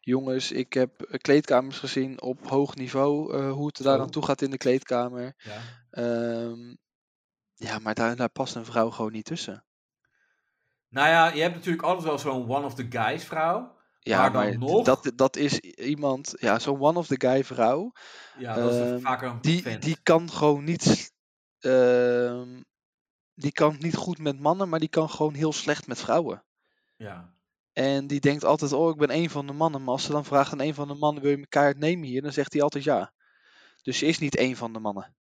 C: jongens. Ik heb eh, kleedkamers gezien op hoog niveau. eh, hoe het er daar aan
B: Zo.
C: toe gaat in de kleedkamer.
B: Ja.
C: Ehm, ja, maar daar, daar past een vrouw gewoon niet tussen.
B: Nou ja, je hebt natuurlijk altijd wel zo'n one of the guys vrouw.
C: Ja, maar,
B: Maar dan
C: d-
B: nog?
C: dat, dat is i- iemand, ja, zo'n one-of-the-guy vrouw,
B: Ja, dat is
C: Ehm,
B: vaker een
C: die,
B: vent.
C: die kan gewoon niet, s- ehm, die kan het niet goed met mannen, maar die kan gewoon heel slecht met vrouwen.
B: Ja.
C: En die denkt altijd, oh, ik ben een van de mannen. Maar als ze dan vraagt aan een van de mannen, wil je elkaar nemen hier? Dan zegt hij altijd ja. Dus ze is niet een van de mannen.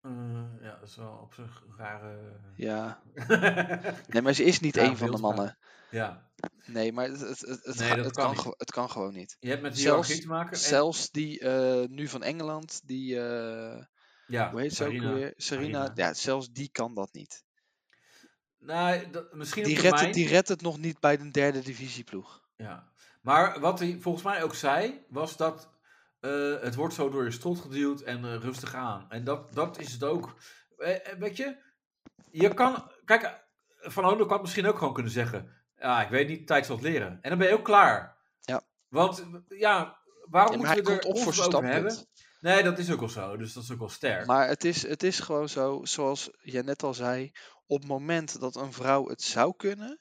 B: Eh, ja, dat is wel op zich een (laughs) rare...
C: Ja.
B: Ja.
C: Nee, maar ze is niet
B: Ja,
C: een van de
B: beeldvraag.
C: mannen. Nee, maar het, het, het, het
B: Nee,
C: ga-
B: dat
C: het
B: kan
C: kan,
B: niet.
C: gewo- het kan gewoon niet.
B: Je hebt met
C: Zelfs-
B: hiërarchie te maken. En,
C: Zelfs die eh, nu van Engeland, die, eh,
B: ja,
C: hoe heet ze ook
B: Sarina.
C: weer? Serena.
B: Sarina.
C: Ja, zelfs die kan dat niet.
B: Nou, dat, misschien
C: Die
B: op
C: redt, het,
B: termijn.
C: die redt het nog niet bij de derde divisieploeg.
B: Ja. Maar wat hij volgens mij ook zei, was dat eh, het wordt zo door je strot geduwd en eh, rustig aan. En dat, dat is het ook. Eh, eh, weet je, je kan... Kijk, eh, Van Hoendel had misschien ook gewoon kunnen zeggen... Ja, ik weet niet, tijd zal het leren. En dan ben je ook klaar.
C: Ja.
B: Want, eh, ja, waarom
C: Ja, maar hij
B: moeten we
C: komt
B: er
C: op voor
B: ons
C: zijn
B: over hebben?
C: standpunt.
B: Nee, dat is ook wel zo. Dus dat is ook wel sterk.
C: Maar het is, het is gewoon zo, zoals jij net al zei, op het moment dat een vrouw het zou kunnen,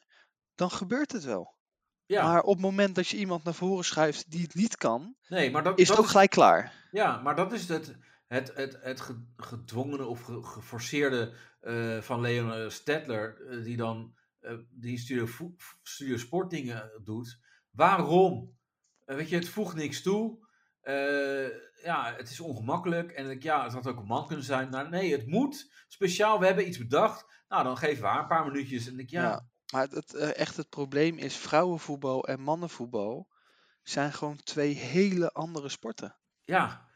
C: dan gebeurt het wel.
B: ja,
C: Maar op het moment dat je iemand naar voren schuift die het niet kan,
B: nee, maar dat,
C: is
B: dat
C: het ook gelijk klaar.
B: ja, maar dat is het, het, het, het ge- gedwongene of ge- geforceerde eh, van Leon eh, Stedtler, eh, die dan eh, die studio, vo- studio sportdingen eh, doet. Waarom? Eh, weet je, het voegt niks toe. Eh, ja, het is ongemakkelijk. En ik, ja, het had ook een man kunnen zijn. Nou, nee, het moet. Speciaal, we hebben iets bedacht. Nou, dan geven we haar een paar minuutjes. En ik, ja,
C: Ja. Maar het- het, eh, echt het probleem is, vrouwenvoetbal en mannenvoetbal zijn gewoon twee hele andere sporten.
B: Ja.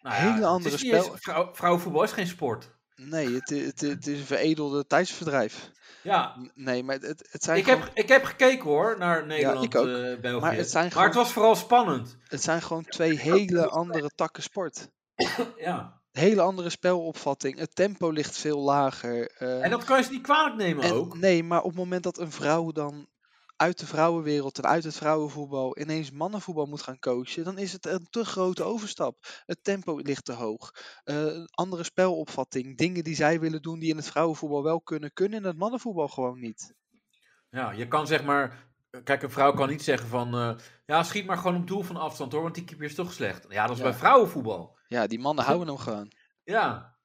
B: Nou ja,
C: Hele
B: het
C: andere
B: is niet eens-
C: spel-
B: vrouw, vrouwenvoetbal is geen sport.
C: Nee, het, i- het, i- het is een veredelde tijdsverdrijf.
B: Ja.
C: N- Nee, maar het, het zijn
B: Ik
C: gewoon
B: heb, ik heb gekeken hoor, naar Nederland,
C: ik ook.
B: eh, België.
C: Maar
B: Maar
C: het
B: het,
C: zijn gewoon-
B: was vooral spannend.
C: Het zijn gewoon twee hele andere takken sport.
B: Ja.
C: Hele andere spelopvatting. Het tempo ligt veel lager. eh,
B: En dat kan je ze niet kwalijk nemen
C: en-
B: ook.
C: Nee, maar op het moment dat een vrouw dan uit de vrouwenwereld en uit het vrouwenvoetbal ineens mannenvoetbal moet gaan coachen, dan is het een te grote overstap. Het tempo ligt te hoog. eh, een andere spelopvatting. Dingen die zij willen doen die in het vrouwenvoetbal wel kunnen, kunnen in het mannenvoetbal gewoon niet.
B: Ja, je kan zeg maar... Kijk, een vrouw kan niet zeggen van... eh, ja, schiet maar gewoon op doel van afstand hoor, want die keeper is toch slecht. Ja, dat is
C: Ja.
B: bij vrouwenvoetbal.
C: Ja, die mannen
B: Ja.
C: houden hem gewoon.
B: Ja,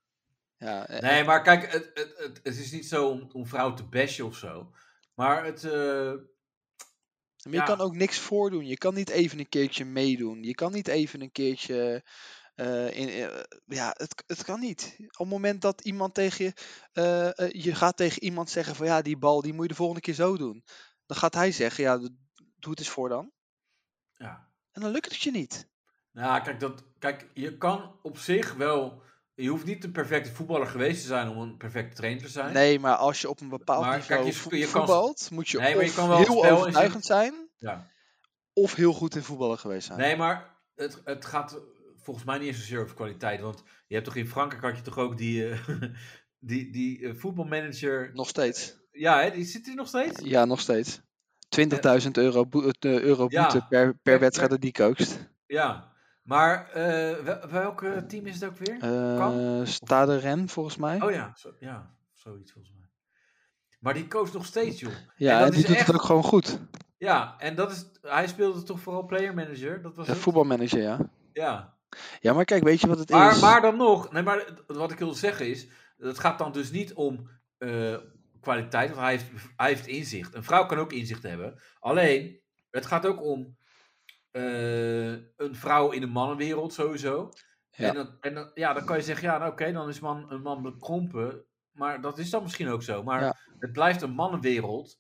C: Ja, eh,
B: Nee, maar kijk, het, het, het, het is niet zo om, om vrouwen te bashen of zo. Maar het. eh,
C: Maar je
B: Ja.
C: kan ook niks voordoen. Je kan niet even een keertje meedoen. Je kan niet even een keertje. eh, in, eh, ja, het, k- het kan niet. Op het moment dat iemand tegen je. eh, eh, je gaat tegen iemand zeggen: van ja, die bal die moet je de volgende keer zo doen. Dan gaat hij zeggen: ja, d- doe het eens voor dan.
B: ja.
C: En dan lukt het je niet.
B: Nou, kijk, dat, kijk, je kan op zich wel. Je hoeft niet de perfecte voetballer geweest te zijn om een perfecte trainer te zijn.
C: Nee, maar als je op een bepaald
B: Maar kijk,
C: niveau
B: je
C: vo-
B: sp- je kan-
C: voetbalt, moet je,
B: Nee, maar je
C: of
B: kan wel het
C: heel
B: spel in
C: overtuigend zijn.
B: Ja.
C: Of heel goed in voetballen geweest zijn.
B: Nee, maar het, het gaat volgens mij niet eens zozeer over kwaliteit. Want je hebt toch in Frankrijk had je toch ook die, eh, (laughs) die, die eh, voetbalmanager.
C: Nog steeds.
B: Ja, hè, die zit hier nog steeds.
C: Ja, nog steeds. 20.000 euro, boe- eh, euro
B: Ja,
C: boete per, per
B: per-
C: wedstrijd dat die coacht.
B: Ja. Maar eh, wel- welk team is het ook weer?
C: Eh Stade Ren, volgens mij.
B: Oh ja, zo, ja, zoiets volgens mij. Maar die coach nog steeds, joh.
C: ja,
B: dat
C: en die
B: is
C: doet
B: echt-
C: het ook gewoon goed.
B: Ja, en dat is, hij speelde toch vooral player manager? Dat was
C: De
B: het?
C: voetbalmanager, ja.
B: Ja.
C: Ja, maar kijk, weet je wat het
B: Maar,
C: is?
B: maar dan nog, nee, maar het- wat ik wil zeggen is, het gaat dan dus niet om eh, kwaliteit, want hij heeft, hij heeft inzicht. Een vrouw kan ook inzicht hebben. Alleen, het gaat ook om eh, een vrouw in de mannenwereld sowieso.
C: Ja.
B: En, dan, en dan, ja, dan kan je zeggen, ja, nou, oké, dan is man, een man bekrompen. Maar dat is dan misschien ook zo. Maar
C: Ja.
B: het blijft een mannenwereld.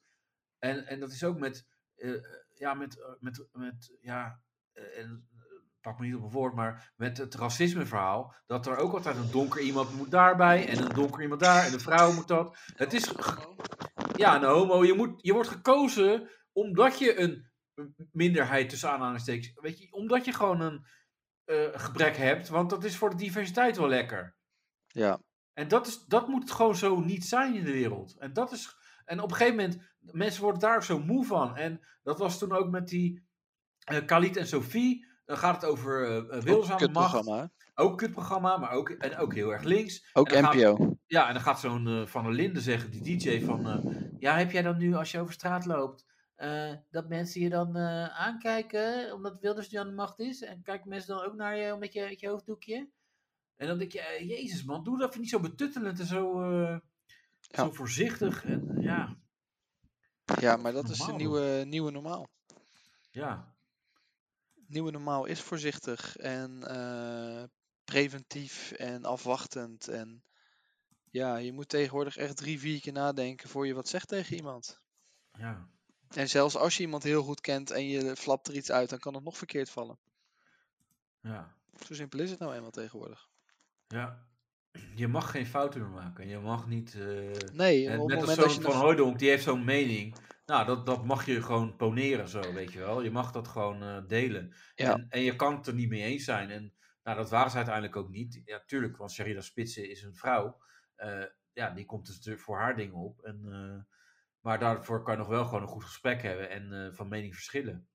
B: En, en dat is ook met, eh, ja, met, eh, met, met ja, eh, en eh, pak me niet op een woord, maar met het racisme verhaal, dat er ook altijd een donker iemand moet daarbij en een donker iemand daar en een vrouw moet dat. Het is, ge- ja, een homo, je, moet, je wordt gekozen omdat je een minderheid tussen aanhalingstekens, weet je, omdat je gewoon een eh, gebrek hebt, want dat is voor de diversiteit wel lekker.
C: Ja,
B: En dat, is, dat moet gewoon zo niet zijn in de wereld. En, dat is, en op een gegeven moment, mensen worden daar ook zo moe van. En dat was toen ook met die eh Khalid en Sophie. Dan gaat het over eh, eh wilzame
C: kut
B: macht.
C: programma. hè?
B: Ook kutprogramma, maar ook, en ook heel erg links.
C: Ook
B: En dan
C: NPO.
B: Ja, en dan gaat zo'n eh, Van der Linden zeggen, die DJ, van... eh, ja, heb jij dan nu, als je over straat loopt... eh, dat mensen je dan eh, aankijken, omdat Wilders nu aan de macht is? En kijken mensen dan ook naar je met je, met je hoofddoekje? En dan denk je, eh, jezus man, doe dat even niet zo betuttelend en zo, eh,
C: Ja.
B: zo voorzichtig. En, ja,
C: Ja, maar dat is de
B: normaal,
C: nieuwe, nieuwe normaal.
B: ja,
C: Nieuwe normaal is voorzichtig en eh, preventief en afwachtend. En ja, je moet tegenwoordig echt drie, vier keer nadenken voor je wat zegt tegen iemand.
B: ja.
C: En zelfs als je iemand heel goed kent en je flapt er iets uit, dan kan het nog verkeerd vallen.
B: ja,
C: Zo simpel is het nou eenmaal tegenwoordig.
B: ja. Je mag geen fouten meer maken. Je mag niet... eh,
C: Nee,
B: En
C: op het
B: net als
C: moment dat je
B: zo'n Van
C: een
B: Hooijdonk, die heeft zo'n mening. Nou, dat, dat mag je gewoon poneren zo, weet je wel. Je mag dat gewoon eh, delen.
C: Ja.
B: En, en je kan het er niet mee eens zijn. En nou, dat waren ze uiteindelijk ook niet. Ja, tuurlijk, want Sherida Spitsen is een vrouw. Eh, ja, die komt dus natuurlijk voor haar dingen op. En, eh, maar daarvoor kan je nog wel gewoon een goed gesprek hebben en eh, van mening verschillen.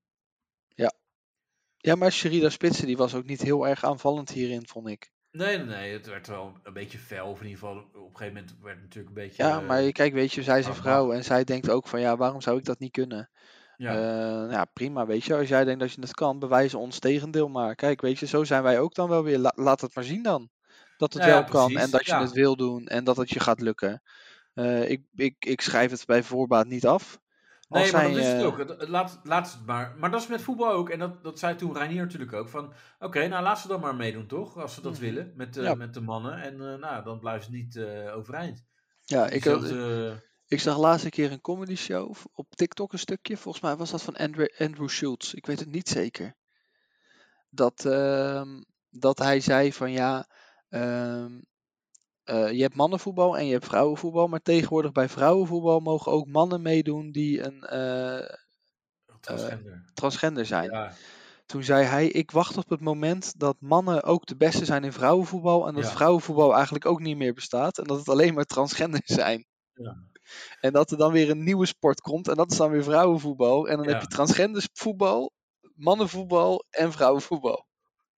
C: Ja, maar Sherida Spitsen die was ook niet heel erg aanvallend hierin, vond ik.
B: Nee, nee, nee, het werd wel een beetje fel. Of in ieder geval, op een gegeven moment werd het natuurlijk een beetje...
C: Ja,
B: eh,
C: maar kijk, weet je, zij is een
B: aanvallend.
C: vrouw en zij denkt ook van ja, waarom zou ik dat niet kunnen?
B: ja.
C: Eh, nou ja, prima, weet je. Als jij denkt dat je dat kan, bewijs ons tegendeel maar. Kijk, weet je, zo zijn wij ook dan wel weer. La- laat het maar zien dan. Dat het
B: Nou ja,
C: wel kan en
B: precies,
C: dat je
B: ja.
C: het wil doen en dat het je gaat lukken. Eh, ik, ik, ik schrijf het bij voorbaat niet af. Als
B: Nee, maar dat
C: zij,
B: is het
C: eh,
B: ook. Het- het Laat, laat ze het maar. Maar dat is met voetbal ook. En dat, dat zei toen Reinier natuurlijk ook. Van, oké, nou laat ze dan maar meedoen, toch? Als ze dat
C: Mhm.
B: willen, met, eh,
C: Ja.
B: met de mannen. En eh, nou, dan blijven ze niet eh, overeind. Dus eh,
C: Ja, ik, Eh, had-
B: Diezelfde-
C: Ik zag laatst een keer een comedy show v- op TikTok een stukje. Volgens mij was dat van Andrew, Andrew Schultz. Ik weet het niet zeker. Dat, ehm, dat hij zei van ja, ehm, eh, je hebt mannenvoetbal en je hebt vrouwenvoetbal. Maar tegenwoordig bij vrouwenvoetbal mogen ook mannen meedoen die een eh,
B: transgender.
C: transgender zijn.
B: ja,
C: Toen zei hij, ik wacht op het moment dat mannen ook de beste zijn in vrouwenvoetbal. En dat
B: Ja.
C: vrouwenvoetbal eigenlijk ook niet meer bestaat. En dat het alleen maar transgenders zijn.
B: Ja.
C: En dat er dan weer een nieuwe sport komt. En dat is dan weer vrouwenvoetbal. En dan heb
B: Ja.
C: je transgenders voetbal, mannenvoetbal en vrouwenvoetbal.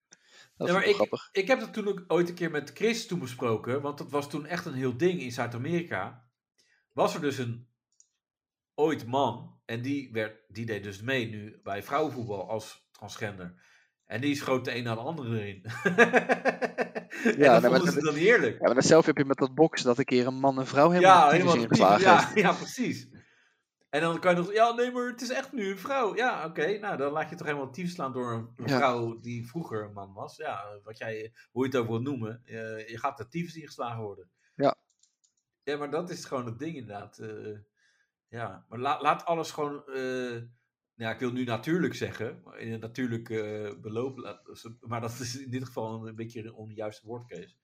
C: Dat
B: Ja,
C: is
B: maar
C: wel
B: ik,
C: grappig.
B: ik heb dat toen ook ooit een keer met Chris toen besproken. Want dat was toen echt een heel ding in Zuid-Amerika. Was er dus een ooit man. En die, werd, die deed dus mee nu bij vrouwenvoetbal als transgender. En die schoot de een naar de andere erin. (laughs)
C: nou,
B: ja,
C: maar
B: dat vonden
C: dat-
B: ze dan heerlijk.
C: Ja, maar hetzelfde heb je met dat boksen, dat een keer een man en vrouw helemaal
B: Ja,
C: de tyfus
B: helemaal
C: ingeslagen
B: typisch.
C: heeft.
B: ja, ja, precies. En dan kan je nog, ja, nee, maar het is echt nu een vrouw. Ja, oké, nou dan laat je toch helemaal tief slaan door een een
C: Ja.
B: vrouw die vroeger een man was. Ja, wat jij, hoe je het ook wil noemen, eh, je gaat er tyfus ingeslagen worden.
C: Ja.
B: Ja, maar dat is gewoon het ding inderdaad. eh, ja, maar la- laat alles gewoon, eh, nou ja, ik wil nu natuurlijk zeggen, maar in een natuurlijk eh, beloop, laat- maar dat is in dit geval een beetje een onjuiste woordkeus.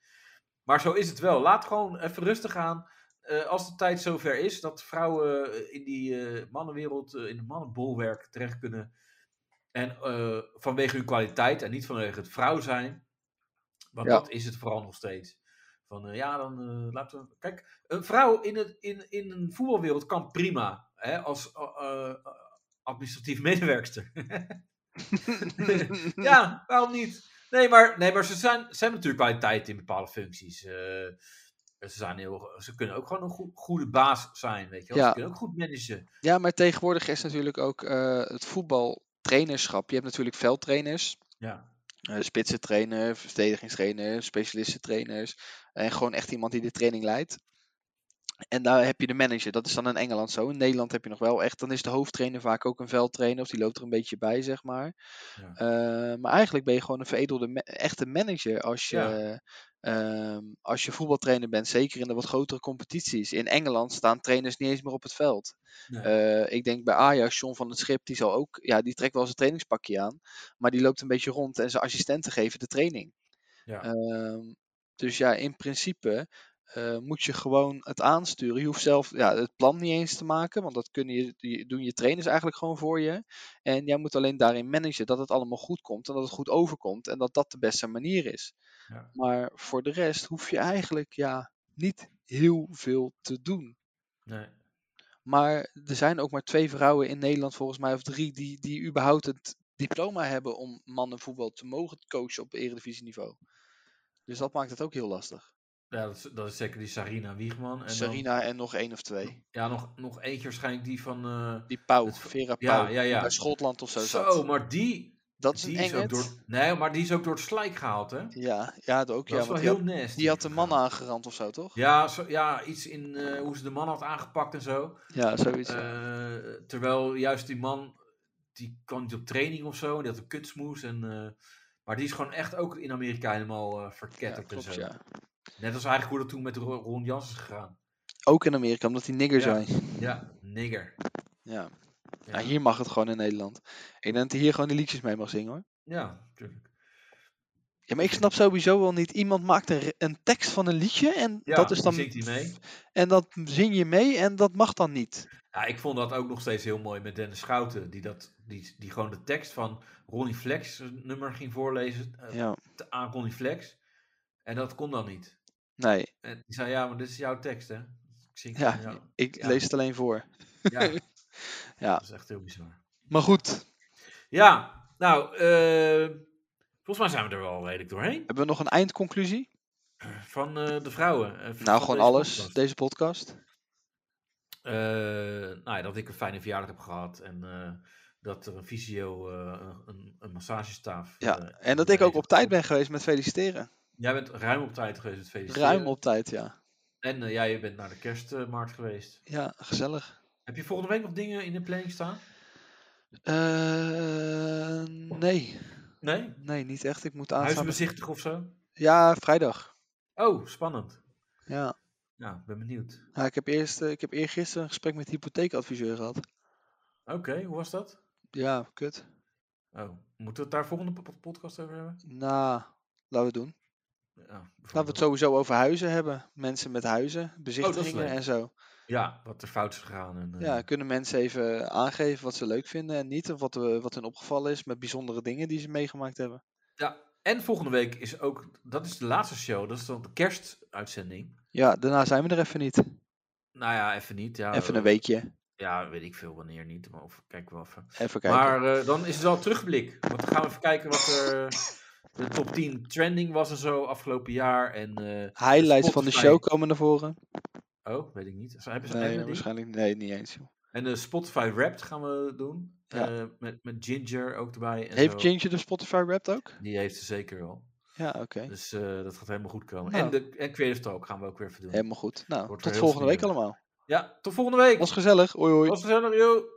B: Maar zo is het wel. Laat gewoon even rustig aan. Eh, als de tijd zover is dat vrouwen eh, in die eh, mannenwereld, eh, in het mannenbolwerk terecht kunnen. En eh, vanwege hun kwaliteit en niet vanwege het vrouw zijn. Want
C: Ja.
B: dat is het vooral nog steeds. Van eh, ja, dan eh, laten we. Kijk, een vrouw in, het, in, in een voetbalwereld kan prima. Hè, als eh, eh, administratief (laughs) medewerkster.
C: (laughs) Hm.
B: ja, waarom niet? Nee, maar, nee, maar ze, zijn, ze hebben natuurlijk kwaliteit in bepaalde functies. Eh, ze, zijn heel, ze kunnen ook gewoon een goe- goede baas zijn, weet je wel.
C: Ja.
B: Ze kunnen ook goed managen.
C: Ja, maar tegenwoordig is natuurlijk ook eh, het voetbaltrainerschap. Je hebt natuurlijk veldtrainers,
B: Ja.
C: eh spitsentrainer, verdedigingstrainer, specialistentrainers. En gewoon echt iemand die de training leidt. En daar heb je de manager. Dat is dan in Engeland zo. In Nederland heb je nog wel echt. Dan is de hoofdtrainer vaak ook een veldtrainer. Of die loopt er een beetje bij, zeg maar.
B: Ja.
C: Eh, maar eigenlijk ben je gewoon een veredelde ma- echte manager als je,
B: Ja.
C: ehm, als je voetbaltrainer bent. Zeker in de wat grotere competities. In Engeland staan trainers niet eens meer op het veld.
B: Nee.
C: Eh, ik denk bij Ajax, John van het Schip, die zal ook, ja, die trekt wel zijn trainingspakje aan, maar die loopt een beetje rond en zijn assistenten geven de training.
B: Ja.
C: Ehm, dus ja, in principe eh, moet je gewoon het aansturen. Je hoeft zelf ja, het plan niet eens te maken, want dat kunnen je, die doen je trainers eigenlijk gewoon voor je. En jij moet alleen daarin managen dat het allemaal goed komt en dat het goed overkomt en dat dat de beste manier is.
B: Ja.
C: Maar voor de rest hoef je eigenlijk ja, niet heel veel te doen.
B: Nee.
C: Maar er zijn ook maar twee vrouwen in Nederland, volgens mij, of drie, die, die überhaupt het diploma hebben om mannenvoetbal te mogen coachen op eredivisieniveau. Dus dat maakt het ook heel lastig.
B: Ja, dat, is, dat is zeker die Sarina Wiegman. En dan-
C: Sarina en nog één of twee.
B: ja, nog, nog eentje waarschijnlijk die van... eh,
C: Die Pauw,
B: Het-
C: Vera
B: ja,
C: Pauw,
B: ja, ja.
C: die bij Schotland of zo
B: Zo,
C: zat.
B: maar die,
C: Dat is een
B: die is ook
C: engert.
B: door... Nee, maar die is ook door het slijk gehaald, hè? Dat
C: Ja, ja, dat ook. Ja,
B: is
C: want
B: wel
C: die,
B: heel
C: had,
B: nasty.
C: die had de man aangerand of zo, toch?
B: Ja, zo, ja, iets in eh, hoe ze de man had aangepakt en zo.
C: Ja, zoiets. ja.
B: Eh, terwijl juist die man, die kwam niet op training of zo, en die had een kutsmoes. En, eh, maar die is gewoon echt ook in Amerika helemaal eh
C: Ja,
B: verketterd en
C: klopt,
B: zo.
C: ja.
B: Net als eigenlijk hoe dat toen met Ro- Ron Jans is gegaan.
C: Ook in Amerika, omdat die nigger
B: Ja.
C: zijn.
B: Ja, nigger.
C: Ja.
B: Ja,
C: Ja, hier mag het gewoon in Nederland. Ik denk dat hij hier gewoon die liedjes mee mag zingen, hoor.
B: ja natuurlijk.
C: Ja, maar ik snap sowieso wel niet. Iemand maakt een, re- een tekst van een liedje en
B: Ja,
C: dat is
B: die
C: dan.
B: zingt hij mee.
C: En dat zing je mee en dat mag dan niet.
B: Ja, ik vond dat ook nog steeds heel mooi met Dennis Schouten. Die, dat, die, die gewoon de tekst van Ronnie Flex nummer ging voorlezen eh,
C: Ja,
B: te- aan Ronnie Flex. En dat kon dan niet.
C: nee.
B: En die zei, ja, maar dit is jouw tekst, hè? Ik zing
C: Ja,
B: van jou.
C: ik
B: Ja.
C: lees het alleen voor.
B: Ja.
C: (laughs) Ja.
B: Dat is echt heel bizar.
C: Maar goed,
B: Ja, nou, eh, volgens mij zijn we er wel redelijk doorheen.
C: hebben we nog een eindconclusie?
B: Van eh, de vrouwen. eh, van
C: Nou, gewoon
B: deze
C: alles.
B: podcast.
C: Deze podcast.
B: Eh, nou ja, dat ik een fijne verjaardag heb gehad. En eh, dat er een fysio, eh, een- een, een massagestaaf...
C: Ja.
B: eh,
C: En dat ik ook
B: heeft.
C: op tijd ben geweest met feliciteren.
B: Jij bent ruim op tijd geweest, het feliciteren.
C: Ruim op tijd, ja.
B: En eh, jij bent naar de kerstmarkt geweest.
C: Ja, gezellig.
B: Heb je volgende week nog dingen in de planning staan?
C: Eh, nee.
B: Nee?
C: Nee, niet echt. Ik moet aanstaan.
B: Huisbezichtig of zo?
C: Ja, vrijdag.
B: Oh, spannend.
C: Ja.
B: Ja, ik ben benieuwd.
C: ja ik, heb eerst, eh, ik heb eergisteren een gesprek met de hypotheekadviseur gehad.
B: Oké, hoe was dat?
C: Ja, kut.
B: Oh, moeten we het daar volgende po- podcast over hebben?
C: Nou, laten we het doen.
B: Ja,
C: Laten we het
B: bijvoorbeeld.
C: sowieso over huizen hebben. Mensen met huizen, bezichtigingen
B: leuk.
C: en zo.
B: Ja, wat er fout is gegaan. En, eh,
C: Ja, kunnen mensen even aangeven wat ze leuk vinden en niet. Of wat, eh, wat hun opgevallen is met bijzondere dingen die ze meegemaakt hebben.
B: ja. En volgende week is ook, dat is de laatste show, dat is dan de kerstuitzending.
C: Ja, daarna zijn we er even niet.
B: Nou ja, even niet. Ja,
C: Even
B: eh,
C: een weekje.
B: Ja, weet ik veel wanneer niet, maar of kijk wel even.
C: Even kijken.
B: Maar eh, dan is het wel terugblik, want dan gaan we even kijken wat er de top 10 trending was en zo afgelopen jaar. En, eh,
C: Highlights van de
B: Spotify.
C: show komen naar voren.
B: oh, weet ik niet. Ze- Hebben ze
C: Nee,
B: hebben die?
C: waarschijnlijk nee, niet eens. joh.
B: En de Spotify Wrapped gaan we doen.
C: Ja.
B: Eh, met, met Ginger ook erbij. En
C: Heeft
B: zo.
C: Ginger de Spotify Wrapped ook?
B: Die heeft ze zeker wel.
C: Ja, oké.
B: Dus eh, dat gaat helemaal goed komen.
C: Nou.
B: En, de, en Creative Talk gaan we ook weer even doen.
C: Helemaal goed. Nou,
B: Wordt weer heel
C: tot volgende week
B: smerig.
C: allemaal.
B: Ja, tot volgende week.
C: Was gezellig. Hoi hoi.
B: Was gezellig, joh.